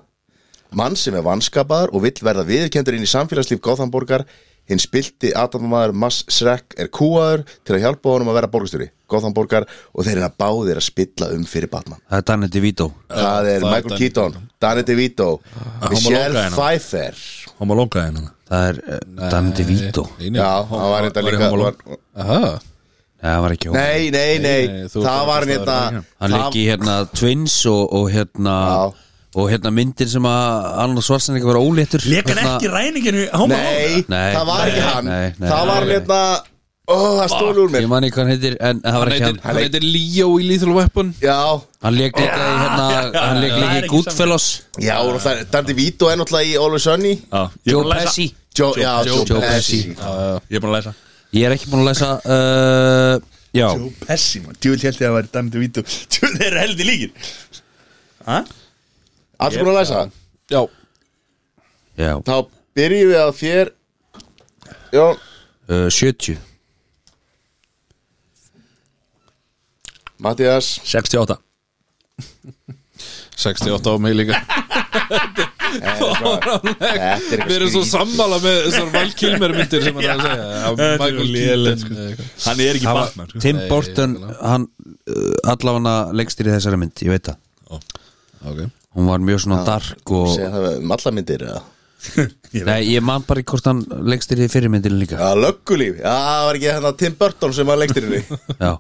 D: Mann sem er vanskapaður og vill verða viðurkendur inn í samfélagslíf Gothamborgar hinn spilti atamamaður Mass Shrek er kúaður til að hjálpa honum að vera borgarstjóri Gothamborgar og þeir hérna báðir að spilla um fyrir Batman
B: Það er Danny DeVito
D: Það er
C: það er
D: Michael
C: Danny
D: Keaton, Danny DeVito
A: lokaði
D: Michelle
A: hana.
D: Pfeiffer
A: Hún var lókaði hennan
B: Það er eh, Danny DeVito
C: Nei, nei.
D: Já, hann var þetta
A: var í
D: líka
A: Home Alone?
D: var-
C: Aha,
B: Nei, það var ekki hún
D: Nei, nei,
C: nei,
D: nei,
C: þú
D: það
C: ert
D: var
C: ekki
D: hérna
C: staður,
B: Hann
D: það-
B: leik í hérna Twins og, og hérna
D: Já.
B: Og hérna myndir sem að Arnold Schwarzenegger var óléttur
A: Leka hann
B: Hérna-
A: ekki ræninginu Hún var
D: Nei,
B: Nei,
D: það var ekki
B: nei,
D: hann
B: nei, nei,
D: Það
B: nei,
D: var
B: nei.
D: hérna Ó, það stólu úr mér
B: Ég man ekki hvað hann heitir En það var
C: hann
B: ekki
C: heitir,
B: hann
C: hann heitir Leo í Lethal Weapon
D: Já,
B: Hann leik líka í hérna Hann leik
A: Það
B: líka
A: er
B: í
A: ekki
B: Goodfellas
D: já, og það er Danny DeVito er náttúrulega í Always Sunny
A: Já
B: Joe Pesci
D: Joe, já, Joe,
B: Pesci.
D: Pesci
A: Ég er búin að læsa
B: Ég er ekki búin að lesa uh, Já
A: Joe Pesci, man Djúvill held ég að það væri Danny DeVito Djúvill, þeir eru heldi líkir Hæ?
D: Allt búin að læsa
C: Já,
B: Já
D: Þá byrjum við á þér Já,
B: uh, 70
D: Mattias
A: 68
C: 68 á mig líka
D: Þetta
C: Við erum svo
D: skrítið.
C: sammála með þessar Val Kilmer myndir sem hann er að segja af
A: Þetta er
C: Michael
A: lélegt,
D: sko.
C: Keaton eða eitthvað.
A: Hann er ekki Batman sko.
B: Tim Burton Hann uh, allafan að leggstýri þessari mynd Ég veit það
C: Ok,
B: Hún var mjög svona dark og
D: Segja það um alla myndir eða?
B: Nei, ég man bara í hvort hann leggstýri fyrirmyndinu líka
D: Já, löggulíf Já, það var ekki hérna Tim Burton sem var leikstirinni
B: Já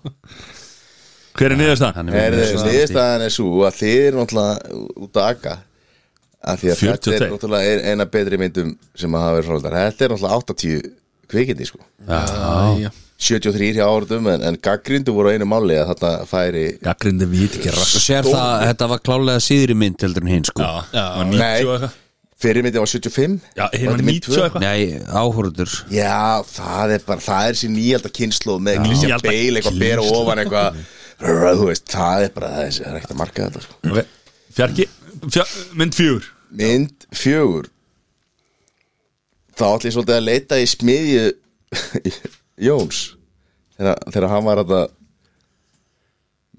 A: Hver er niðurst það?
B: hann er
D: Herðu,
B: mjög svona-
D: niðurstaðan er svo að þið er náttúrulega út að akka af því að þetta er
A: 42.
D: náttúrulega ein- eina betri myndum sem að hafa verið fráldar Þetta er náttúrulega 80 kvikindi sko
C: já
D: 73 hjá áratum en, en gaggrindu voru á einu máli að þetta færi
A: Gaggrindi vít ekki rast
B: Þú sér það að þetta var klálega síðri mynd heldur en hinn sko
A: Já, það var 90 og eitthvað
D: fyrirmyndi var 75
A: Já,
D: Var
A: hérna
D: þetta
A: 90 og
D: 92?
A: eitthvað
B: Nei, áhörður
D: Já, það er bara, það er sér nýjalda kynslu með Christian
A: Nýalda
D: Bale, eitthvað
A: kynslóð.
D: bera ofan eitthvað, þú veist, það er bara það er, það er ekkert að marka þetta sko.
A: Ok, fjarki, fjar, mynd fjúr
D: Mynd fjögur Þá ætla ég svolítið að leita í smiðju Jóns þegar, þegar hann var þetta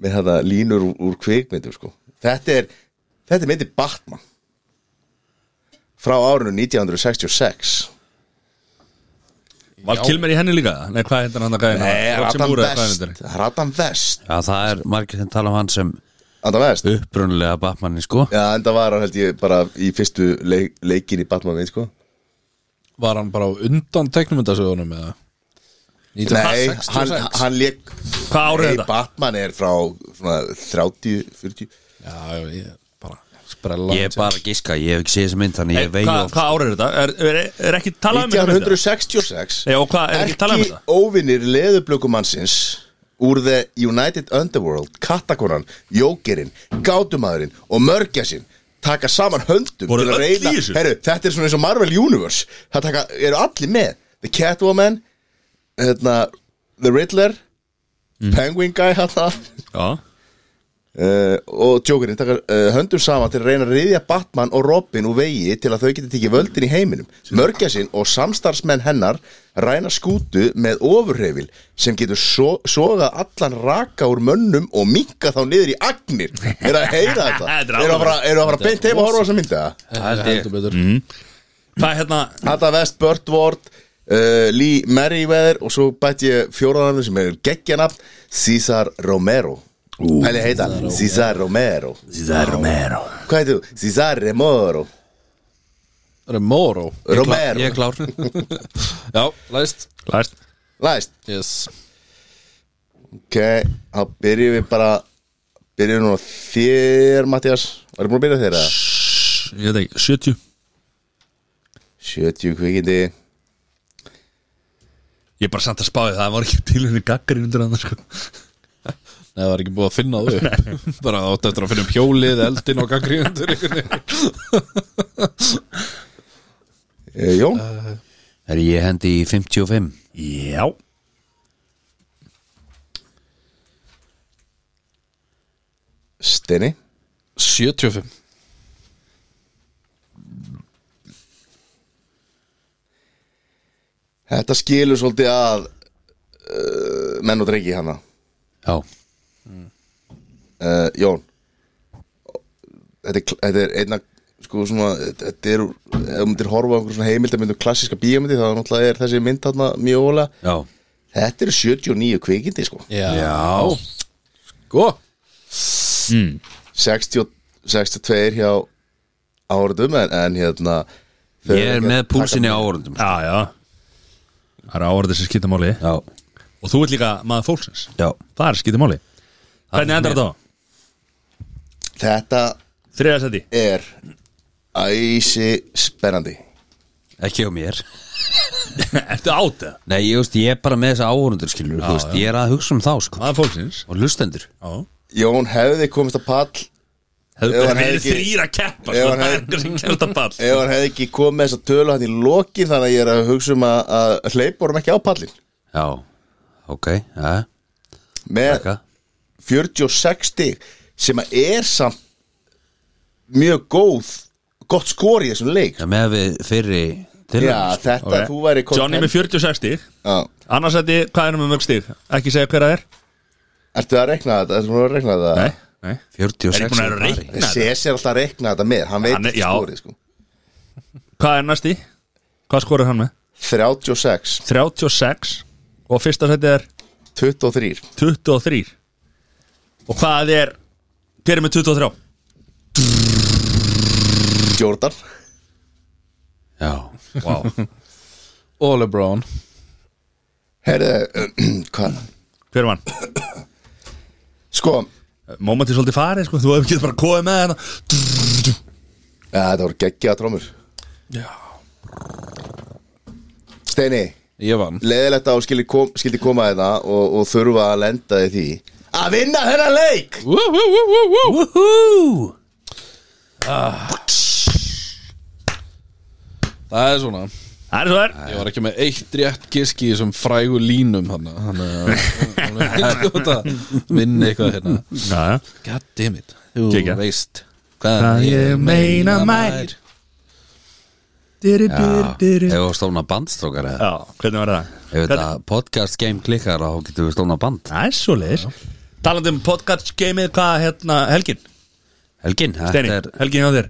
D: með þetta línur úr, úr kvikmyndum sko. Þetta er þetta er myndi Batman frá árinu 1966
A: Val Kilmer í henni líka? Nei, hvað heitir hann að gæðina?
D: Nei, Ratan
A: Roximura, hvað heitir
D: Vest Ratan Vest
E: Já, það er margir sem tala um hann sem
D: Ratan Vest
E: upprunulega Batmanin, sko
D: Já, en það var hann held ég bara í fyrstu leik, leikin í Batman sko.
C: Var hann bara á undan teknumundasögunum eða?
D: Nei,
C: 1966?
D: hann, hann leik
A: Hvað árið er
D: Nei,
A: þetta?
D: Batman er frá svona, 30, 40
C: Já, já, ég bara sprella hérna.
E: Ég er bara að giska, ég hef ekki séð þessi mynd þannig ég
A: Nei,
E: vei
A: Hvað
E: of
A: hvað árið er þetta? Er- Er, er ekki talað um þetta?
D: 1966
A: Já, og hvað, er ekki talað um þetta?
D: óvinir leðublökumannsins úr The United Underworld Katakonan, Jókerinn, Gátumadurinn og Mörgjasinn taka saman höndum
A: Voru
D: til að
A: öll í
D: reyna
A: þessu?
D: Heru, þetta er svona eins og Marvel Universe það taka, eru allir með The Catwoman hérna, The Riddler
A: Mm.
D: Penguin Guy hérna,
A: Já,
D: uh, og Jokerinn taka uh, höndum saman til að reyna að riðja Batman og Robin úr vegi til að þau geti tekið völdin í heiminum Mörgjasinn og samstarfsmenn hennar ræna skútu með ofurhefil sem getur so sogað allan raka úr mönnum og minka þá niður í agnir er að heyra þetta
A: Þetta er
D: eru að fara, eru að fara beint heim og horfa á þessa myndi eða?
C: Heldur heldur betur
E: Mm.
A: hvað er hérna?
D: Hata Vest, Burt Ward uh, Lee Merriweather og svo bætt ég fjóraðanum sem er geggjanafn César Romero Hæli heita, César Romero
A: César Romero
D: Hvað heitir þú? César Romero
C: Remoro
D: Romero
E: Ég er klár
C: Já, læst
A: Læst
D: Læst
C: Yes
D: Ok, þá byrjum við bara Byrjum nú á þér, Mattias Varum búin að byrja á þér að?
A: Ég veit ekki, 70
D: 70 kvikindi
A: Ég er bara samt að spáði það, það var ekki til henni gaggarinn undir hann sko.
C: Nei, það var ekki búið að finna þau upp Bara átt eftir að finna um hjólið, eldin og gangriðundur
D: uh, Jón,
E: Er ég hendi í 55
A: Já
D: Steini
C: 75
D: Þetta skilur svolítið að uh, menn og drengi hana
E: Já,
D: uh, Jón þetta er, kl- þetta er einna sko svona, þetta er úr- ef þú myndir horfa á einhver svona heimildamynd um klassíska bíómyndi þá náttúrulega er þessi mynd þarna mjög ólega
E: já
D: þetta eru 79 kvikindi sko
C: Já Sko
D: 60, og- 62 hjá áraðum en, en hérna þau
E: Ég er
D: ekki að
E: með
D: taka
E: púlsinni
D: mynd.
E: á orðum
A: Já, já Það er áverðið sem skipta máli
E: Já,
A: Og þú ert líka maður fólksins
E: já
A: Það er skipta máli Hvernig endar þetta á?
D: þetta
A: Þriða seti
D: er æsi spennandi
E: Ekki á mér
A: Ertu átt það?
E: Nei, ég veist, ég er bara með þessa áhórundur skilur já, veist, Ég er að hugsa um þá sko
A: Maður fólksins
E: Og hlustendur
A: Já
D: Jón hefði komist að pall
A: Hefur
D: Ef hann
A: verið
D: hefði ekki-
A: þrýra að keppa
D: ef
A: sko,
D: hann
A: Það er
D: hefði-
A: einhver sem kemst að pall
D: ef hann hefði ekki komið með þessa tölu hann í lokin þannig að ég er að hugsa um að, að hleypa honum ekki á pallin
E: Já, ok, já,
D: með
E: ekka
D: 46 stig sem að er samt mjög góð gott skor í þessum leik
E: Já, með að við fyrri sko. til
D: Já, þetta
A: Ok.
D: þú væri
A: Johnny með 46 stík
D: Já.
A: Annars seti, hvað erum við mörg stík? Ekki segja hver að er?
D: Ertu að rekna þetta? Ertu búin að rekna þetta?
A: Nei, nei Er
E: 46
A: ég búin að
E: sem
A: reikna
E: pari.
A: þetta?
D: Sess er alltaf að rekna þetta með Hann veit
A: Hann er-
D: ekki
A: já.
D: skorið sko.
A: Hvað er næst í? Hvað skorur hann með?
D: 36,
A: 36 Og fyrsta seti er
D: 23
A: 23 Og hvað er Hver er með 23?
D: Jordan
E: Já,
A: Wow.
C: Og LeBron
D: Herðu, hvað?
A: Hver var hann?
D: Sko,
A: Mómenti svolítið farið sko Þú hefur ekki bara komið með hérna. hann
D: ja, þetta voru geggjaða trómur
C: Já
D: Steini,
C: Ég vann
D: leðilegt að þú skildi, kom, skildi koma þetta og, og þurfa að lenda í því Að vinna þennan leik
C: Woo, woo, woo, woo, woo.
E: Úhú
C: Ah. Það er svona
A: Það er svo er
C: Ég var ekki með eitt rétt giski í þessum frægu línum hann Þannig að gott að vinna eitthvað hérna
A: Já, já
C: God damn it Þú
A: Kekja.
C: veist hvað
A: Hvað ég meina mær.
E: Já, ef við stóna bandstrókar eða
A: Já, hvernig var það?
E: Ef þetta podcast game klikkar þá getum við stóna band
A: Það er svo leir Talandi um podcast gameið Hvað hérna Helgin?
E: Helgin,
A: Steini,
E: þetta er
A: Helgin hjá þér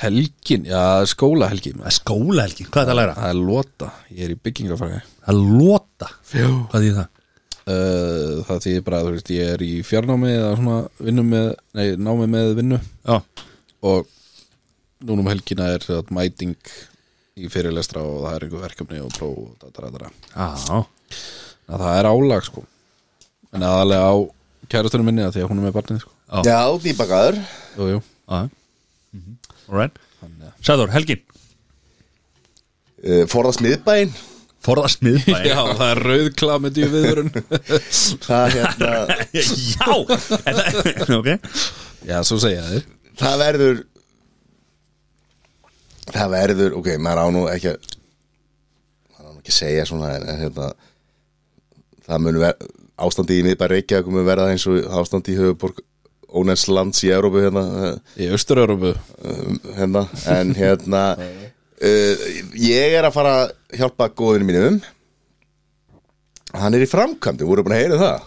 C: Helgin, já, skólahelgi maður.
A: Það er skólahelgi, hvað er það að læra?
C: Það er lota, ég er í byggingafræði
A: Það er lota Fjó. Hvað þýð það?
C: uh, Það þýðir bara, þú veist, ég er í fjarnámi eða svona vinnum með, nei, námi með vinnu
A: Já,
C: og núna um helgina er það, mæting í fyrirlestra og það er einhver verkefni og próf og datra, datra.
A: já,
C: Að það er álag, sko en aðalega á kærastunum minni að því að hún er með barnið, sko
A: Já.
D: Já, nýbakaður
C: Jú, jú,
A: já Alright Sæður, helgin
D: uh, Forðast miðbæinn
A: Forðast miðbæ
C: já, það er rauðkla með djú viðvörun
D: það, hérna,
A: Já, en það, ok
C: Já, svo segja þér
D: það verður Það verður, ok, maður á nú ekki að maður á nú ekki að segja svona en, en hérna það mun verða, ástandi í miðbæ Reykjavík mun verða eins og ástandi í höfuborg ónefns lands í Európu hérna, eh,
C: Í Austur-Európu
D: um, hérna en hérna uh, ég er að fara að hjálpa góðinu mínum hann er í framkvæmdi, voru búin að heyra það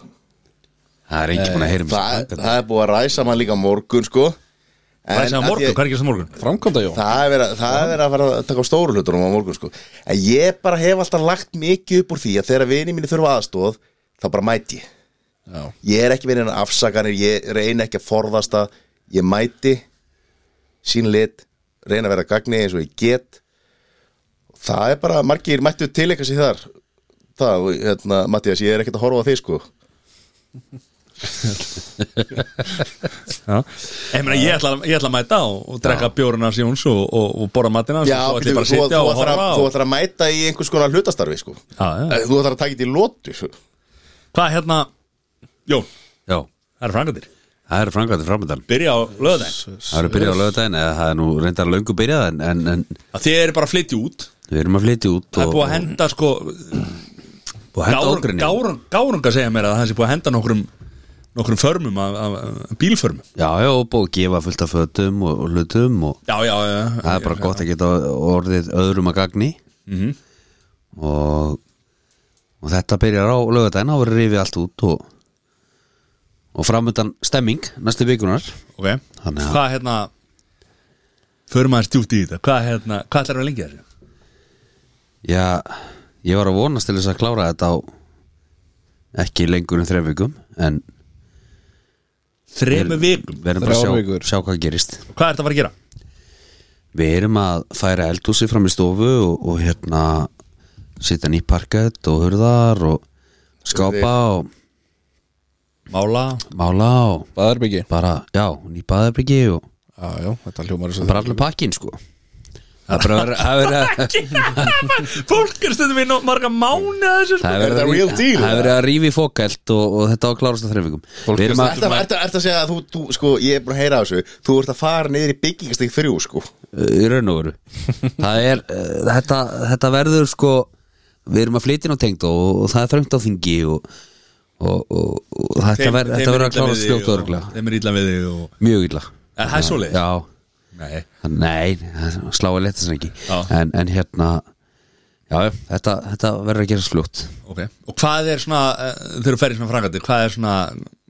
B: Það er engin búin að heyra
E: sko.
B: um
A: Eh,
D: það, það er búið að ræsa mann líka á morgun sko En
A: Það er sem
D: að
A: að morgun,
D: ég-
A: hvað er ekki sem morgun?
C: Framkvæmda, Jón
D: Það er verið, það er verið að fara að taka á stóru hlutunum á morgun sko En ég bara hef alltaf lagt mikið upp úr því að þegar vini mínu þurfa aðstóð þá bara mæti ég
C: Já,
D: Ég er ekki verið en afsakanir, ég reyna ekki að forðast að ég mæti sín lit, reyna að vera að gagni eins og ég get Það er bara, margir mættu til eitthvað sér þar Það, og, hérna, Mattias, ég er ekkert að horfa á þig sko
A: Ég meina, ég ætla, ég ætla að mæta og, og drekka bjórun hans Jóns og, og, og borra matina
D: Já,
A: svo ætla
D: býtu,
A: ég bara að
D: þú, þú,
A: sitja og
D: ætlar að,
A: horfa
D: þú
A: og,
D: ætlar að mæta í einhvers konar hlutastarfi sko
A: já, já.
D: Þú ætlar að taka þetta í sko. lótu
A: Hvað hérna, Jón,
B: Já,
A: það er frangandir
B: það eru framkvæmdi framöndan
A: Byrja á löðin
B: Það eru byrjað á lögudaginn eða það er nú reyndar löngu byrjað en, en, en
A: Þið eru bara að flytja út
B: við erum að flytja út
A: Það er
B: og,
A: búið að henda sko
B: og, og henda
A: gárung-
B: ágrinni
A: gárung- Gárunga segja mér að það sé búið að henda nokkrum nokkrum förmum af, af, af bílförmum
B: Já, já, og búið að gefa fullt af fötum og, og hlutum og
A: Já, já, já
B: það er bara gott að geta orðið öðrum að gagni
A: Mhm.
B: og, og þetta byrjar á lögudaginn þá verður rifið allt út og, og framöndan stemming næstu vikunar
A: Ok,
B: Þannig að-
A: hvað hérna Förum aðeins djúpt í þetta Hvað hérna, hvað ætlar að vera lengi í þessu?
B: Já, ég var að vonast til þess að klára þetta á ekki lengur en þrejum vikum en
A: Þremur vikum
B: við erum bara
C: Þrjár
B: að sjá,
C: vikur.
B: sjá hvað gerist
A: Hvað er þetta að fara að gera?
B: Við erum að færa eldhúsi fram í stofu og, og hérna sitja nýtt parkett og hurðar og skápa og
A: Mála
B: mála og
C: Baðarbyggi
B: bara, já, nýtt baðarbyggi og
C: Já, já, þetta hljómar þess
B: bara allir pakkin sko Það er bara að vera að vera
A: Fólk er stundum í no- marga mánu þessu sko.
B: Það er
D: Er þetta
B: verið
D: real
B: að,
D: deal,
B: ríf- það er verið að rífi fókælt og, og þetta á að klárast á þrejum vikum Við erum að,
D: Ertu ertu- ertu að segja að þú, þú, sko, ég er búin að heyra af þessu Þú ert að fara niður í byggingastík þrjú, sko
B: í raun og veru það er, uh, þetta, þetta verður sko við erum að flytja inn á tengd og, og það er þröngt á þingi og, og, og, og þetta
A: Þeim-
B: verður
A: þeim
B: þetta
A: er
B: verður
A: illa
B: að klára
A: við þig
B: sljótt
A: og-
B: örgulega
A: Þeim er illa við þig og
B: mjög illa
A: Er það svoleiðis?
B: já,
A: Nei,
B: nei, sláði leta sem ekki
A: Já.
B: en, en hérna já, já, þetta, þetta verður að gera sljótt
A: ok Og hvað er svona, eh, þegar þú ferð í svona frangandi Hvað er svona,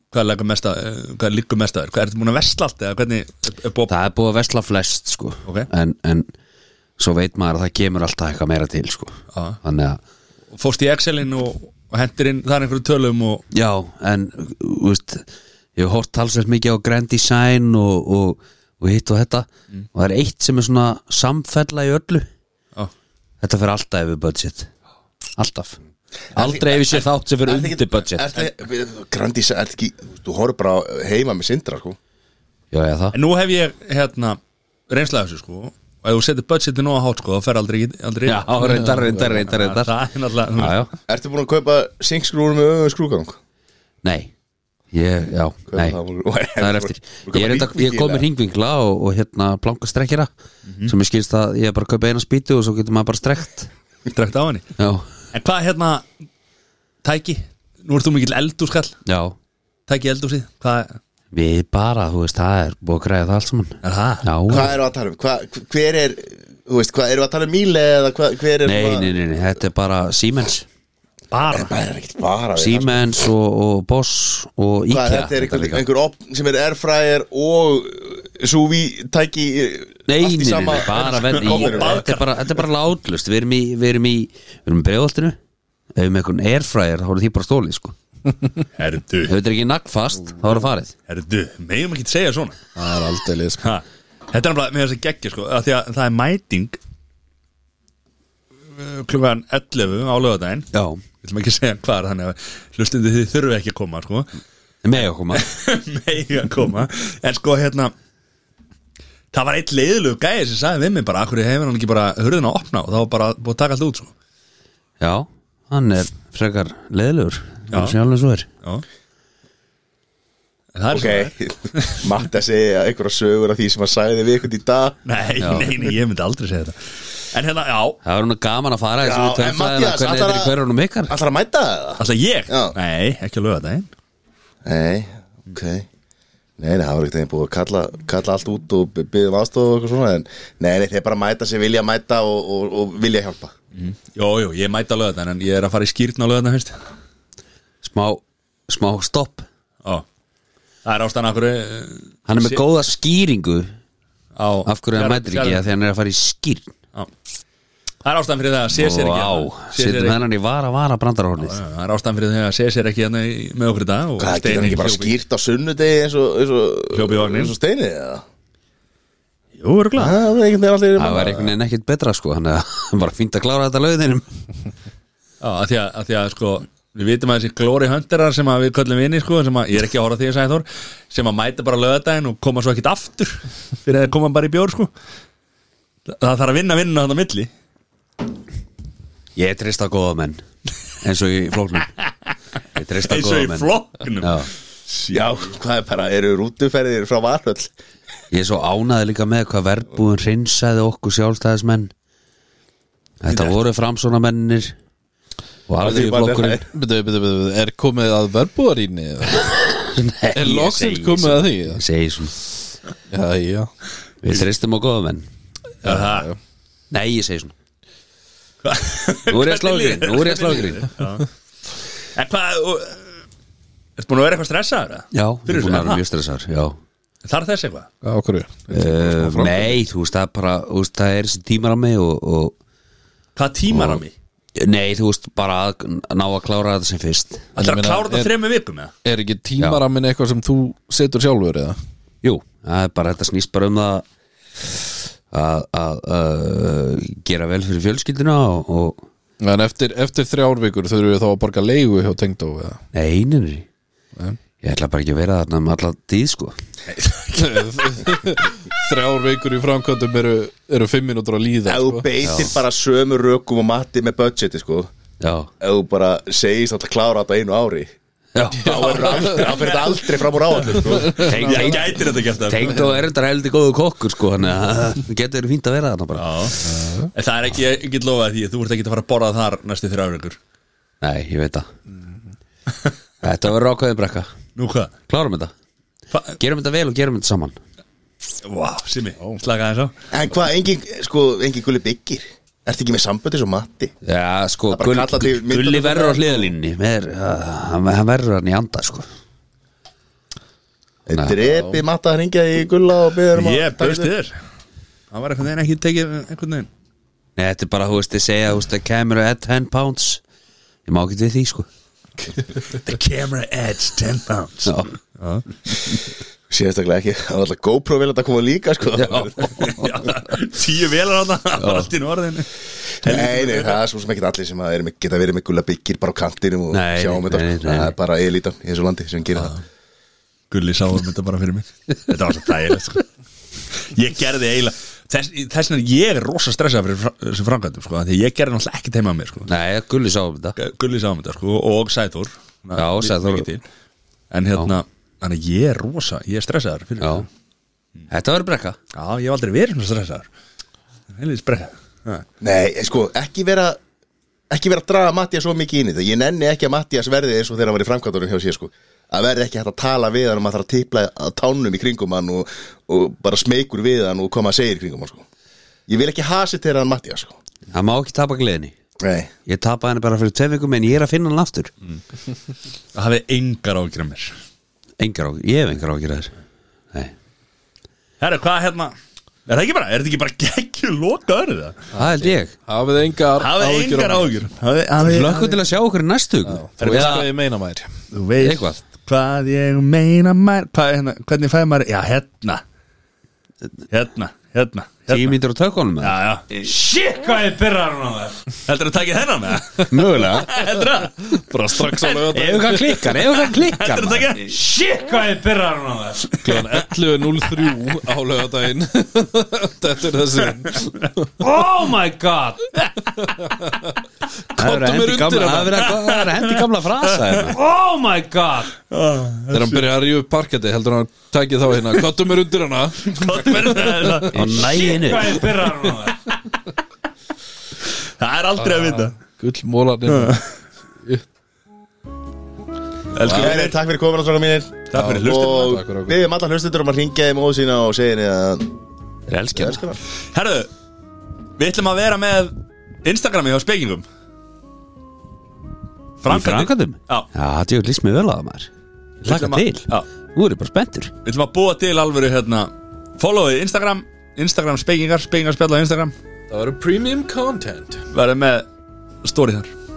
A: hvað liggur mest að eh, Hvað liggur mest að þér? Hvað ertu búin að vesla allt eða hvernig er, er búið
B: það er búið að vesla flest sko
A: Ok.
B: en, en svo veit maður að það kemur alltaf eitthvað meira til sko
A: Já.
B: þannig að
A: að Fórst í Excelin og, og hendir inn þar einhverju tölum og
B: Já, en þú veist, ég hef hort talsvert mikið á Grand Design og, og, og hitt og þetta
A: Mm.
B: og það er eitt sem er svona samfella í öllu
A: Já.
B: Þetta fyrir alltaf yfir budget Alltaf Aldrei yfir sér þátt sem fyrir undir budget
D: budget Grandís, ert ekki, þú horfður bara á heima með sindra, sko
B: Já, já, það
A: En nú hef ég hérna reynslega þessu sko og ef þú setur budgetið nóg að hát sko þá fer aldrei, aldrei
B: Já, reyndar, reyndar, reyndar, reyndar
A: Það er náttúrulega
B: Já, já,
D: Ertu búin að kaupa synkskrúður með öðum skrúgang?
B: nei Ég, já, nei Það er eftir Ég, er enda, ég kom með hringvingla og, og hérna blanka strekkjara sem ég skilst að ég er bara að kaupa eina spýtu og svo getur maður bara strekt
A: Drekt á henni
B: Já,
A: En hvað hérna tæki? Nú ert þú mikill eldúskall
B: já
A: Tæki eldúsið Hvað
B: Við bara, þú veist, það er búið að græða það allt saman
A: er það?
B: Já,
D: Hvað eru að tala um? Hvað, hver er, þú veist, hvað eru að tala um míle eða hvað, hver er
B: nei, nei, nei, nei, þetta er bara Siemens
A: bara
D: það er ekkert bara við það, sko.
B: Siemens og, og Boss og Ikea
D: Hvað, þetta er einhver,
B: líka.
D: einhver opn sem er airfryer og súvi tæki eh,
B: Nei,
D: allt í
B: nei, nei,
D: sama-
B: nei, bara venn í,
D: Kominu.
B: þetta er bara, þetta er bara látlust Við erum í, við erum í, við erum í bregðoltinu Ef við erum með einhvern airfryer þá eru því bara stólið sko Ef
A: Herdu,
B: þetta er ekki naglfast þá eru farið
A: herdu, megum ekki segja svona
C: það er aldrei lið
A: ha. Þetta er náttúrulega með þess að gegja sko að Því að það er mæting uh, klukkan 11 á lögadaginn
B: Já,
A: Við ætlum ekki að segja hvað er þannig að hlustundi þið þurfi ekki að koma sko
B: með okkur maður
A: megi að koma en sko hérna það var eitt leiðilegu gæði sem sagði við mig bara akkur hefur hann ekki bara hurðin að opna og það var bara búið að taka allt út sko.
B: Já, hann er frekar leðilegur
A: Já.
B: Það sé alveg svo er
A: Já. En það er
D: Ok,
A: okay.
D: Matta segja einhverja sögur af því sem að sagði við ykkur í dag
A: nei, nei, nei, ég myndi aldrei segja þetta en hérna, já,
B: Það var nú gaman að fara
D: Já,
B: þessu
D: en Matthías,
B: tölfræðina Hvernig
D: ætlar
B: er
D: að-
B: í hverjunum ykkar?
D: Ætlar að mæta það?
A: alltaf ég
D: Já.
A: nei, ekki að löga þetta einn
D: Nei, ok Nei, nei, það var ekkert einn búið að kalla, kalla allt út og byggðum aðstofa og eitthvað svona en nei, nei, þeir bara mæta sem vilja mæta og, og, og vilja hjálpa
A: Jó, jú, ég mæta að löga þetta en ég er að fara í skýrtna að löga þetta fyrst
B: Smá, smá stopp
A: Ó. það er ástæðan akkur
B: Hann er með góða skýringu
A: á,
B: Af hverju hann mætir ekki að því hann er að fara í skýrn
A: Já. það er ástæðan fyrir það að sé sér ekki
B: Vá,
A: hérna. Sé sér
B: setjum
A: ekki.
B: hennan í vara, vara brandarhórnið
A: Já, Það er ástæðan fyrir þegar að segja sér ekki hérna í- með okkur í dag og
D: Hvað, getur hann
A: Steini
D: ekki bara
A: hljóp í-
D: skýrt á sunnudegi eins og, eins og,
A: Hljóp í vagninn.
D: eins og steini eða?
A: Jú, eru glæð
D: Það var einhvern veginn allir
B: Það var einhvern veginn ekkert betra sko Þannig að hann bara fínt að klára þetta lögðinum
A: Já, að því að, að því að sko Við vitum að þessi glóri höndirar sem að við köllum inni sko, sem að, ég er ekki að horfa á því að segja þór sem að mæta bara lögadaginn og koma svo ekkit aftur fyrir að þeir koma bara í bjór sko Það það þarf að vinna vinna þarna á milli
B: Ég treyst á góða menn Eins og í flóknum Ég treyst á
A: eins
B: góða
A: og í
B: menn
A: flokknum
B: Já,
D: Já, hvað er bara, eru rútuferðir frá Varhöll
B: Ég er svo ánaði líka með hvað verbúin hreinsaði okkur sjálfstæðismenn Þetta voru framsóna mennir Og alveg í flokkurinn
C: Byrju, byrju, byrju, er komið að verbúðarínni
B: Nei,
C: er
B: ég
C: loksins
B: segi
C: komið
B: svona.
C: að því
B: Ég segi svona
C: já, já,
B: Við treystum á góða menn
A: Já, það
B: Nei, ég segi svona Nú er ég að slá í grín, nú er ég að slá í grín.
A: En hvað og- Ertu búin að vera eitthvað stressaður? eða?
B: Já, ég
A: Fyrir
B: er búin að vera
A: þessu,
B: mjög stressar Já
A: en þarf þess eitthvað?
C: já, Eh, okkur
B: Uh, nei, þú veist, það er bara þú veist, það er þessi tímar á mig og, og
A: Hvað tímar á mig?
B: nei, þú veist, bara að ná að klára þetta sem fyrst
A: Það er að
C: meina,
A: klára þetta
C: er-
A: þremmu vikum eða?
C: er ekki tímaraminn eitthvað sem þú setur sjálfur eða?
B: Jú, það er bara, þetta snýst bara um það að, að, að gera vel fyrir fjölskyldina og, og
C: en eftir, eftir þrjár vikur þurfum við þá að borga leigu hjá Tengdó eða? Eh?
B: nei, einunni ég ætla bara ekki að vera þarna um alla tíð sko
C: þrjár vikur í framkvæmdum eru, eru fimm mínútur að líða
D: Ef þú
C: sko.
D: beitir bara sömu rökum og matti með budgeti sko
B: já,
D: Ef þú bara segist að klára þetta einu ári
B: já
D: Þá verður aldrei, þá verður þetta aldrei fram úr áallu sko
B: Teng-
A: Ég
B: teng-
A: gæti þetta gert það
B: tengd og erindar heldur góðu kokkur sko þannig að það getur verið fínt að vera þarna bara
A: En það er ekki, ég get lofað því að þú ert ekki að fara að borða þar næstu þrjá ykkur
B: nei, ég veit það þetta verður ákveðin brekka
A: Nú hvað?
B: klárum þetta
A: Hva?
B: gerum þetta vel og gerum þetta saman
A: Vá, Simmi, slaka þess á
D: En hvað, engin, sko, engin gulli byggir Ertu ekki með samböndi svo matti?
B: Já, sko,
D: Það bara
B: gull,
D: kallar til
B: gull, Gulli
D: myndunum-
B: verður á hliðalínni Ver, uh, hann, hann verður hann í anda, sko Nei.
D: Drepi matta að ringja í gulla og um byrður
A: Ég bauðst þér Það var einhvern veginn ekki tekið einhvern veginn
B: Nei, þetta er bara, hú veist, ég segja, hú veist, það kemur at 10 pounds Ég má ekki við því, sko
A: The camera adds 10 pounds
B: Já,
D: Sérstaklega ekki, það var alltaf GoPro vel að koma líka sko
A: Já, Tíu velar á það, það var allt í norðin
D: Nei, nei, það er svo sem ekki allir sem að eru með, geta verið með gulla byggir bara á kantinum og
B: Nei,
D: sjáum
B: nei,
D: þetta
B: nei,
D: sko.
B: nei.
D: Það er bara elítan í þessu landi sem gerir það
A: Gulli sáum þetta bara fyrir mig Þetta var svo þægilegt sko. Ég gerði eiginlega Þess þess vegna ég er rosa stressað fyrir fra- þessum framkvæmdum sko, af Því að ég gerði náttúrulega ekki teima mér sko.
B: nei, Gulli sá um þetta
A: Gulli sáum þetta sko, og Sæþór
B: Já, Sæþór.
A: Mikið til. En hérna, þannig að ég er rosa Ég er stressaður fyrir
B: Já,
A: það
B: þetta verður brekka
A: Já, ég hef aldrei verið svona stressaður Heilins brekka Já.
D: Nei, sko, ekki vera ekki vera að draga Mattias svo mikið inn í þetta ég nenni ekki að Mattias verði eins og þegar hann var í framkvæmdunum hjá sér sko að verði ekki hægt að tala við hann og maður þarf að tipla að tánum í kringum hann og, og bara smeykur við hann og koma að segja í kringum hann sko ég vil ekki hasi til hann Mattias sko
B: Hann má ekki tapa gleðinni
D: Nei,
B: Ég tapaði henni bara fyrir tveim vikum en ég er að finna hann aftur
A: Það hafi engar ágjur mér
B: Engar á, ég hef engar á að gera þér Nei,
A: Herru, hvað hérna Er það ekki bara, er þetta ekki bara geggjur loka öðru það?
B: það held ég
C: Hafið engar
A: Hafi
C: áhyggjur
A: engar
C: af mér.
A: ágjur Hafi, hafi,
B: Lökkum til að sjá okkur í næstu viku.
C: Þú veist
B: Eða-
C: hvað ég meina maður
A: Þú veist
B: Eitthvað.
A: hvað ég meina mær hvað, hérna, Hvernig fæði maður, já hérna Hérna, hérna,
B: Tíu
A: hérna.
B: mínútur á tökunum
A: Já,
B: eða?
A: já Shit, hvað ég byrjar hún á það Heldur að taka þennan með það?
B: Mögulega
A: Heldur að?
C: Bara strax á lögata
B: Ef hvað klikkar, ef hvað klikkar
A: Heldur að taka Shit, hvað ég byrjar hún á það?
C: Kljóðan 11.03 á lögadaginn Þetta er þessi
A: Oh my god
B: Það er að
C: Komdu mér
B: hendi
C: undir
B: gamla-
C: hana.
B: það er verið að- það er að hendi gamla frasa hérna.
A: Oh my god
C: Þegar hann byrjaði að rífa upp parketti heldur hann að tæki þá hérna Kottu mér undir hana
A: Hvað er það?
B: Á næginu
A: Hvað er byrjar hún á það? Það er aldrei að vita
C: Gull mólarnir
A: Elsku
D: Nei, nei,
A: vinir,
D: takk fyrir komin á svona mínir
A: Takk fyrir hlustunum
D: Og
C: Takk fyrir okkur.
D: við erum allar hlustundur um að ringja þeim og sína og segja henni að
B: Þeir elskja það
D: Elskar það.
A: Herðu, við ætlum að vera með Instagrami hjá spekingum
B: Í framkvæmdum?
A: Já.
B: Já, það er líst mér vel að það maður Ég Laka
A: ætlum að-
B: til
A: Já.
B: Þú eru bara spenntur
A: Við ætlum að búa til alvöru hérna Followið Instagram, Instagram spekingar Spekingar spjalla á Instagram
C: Það verður premium content
A: Verðum með story þar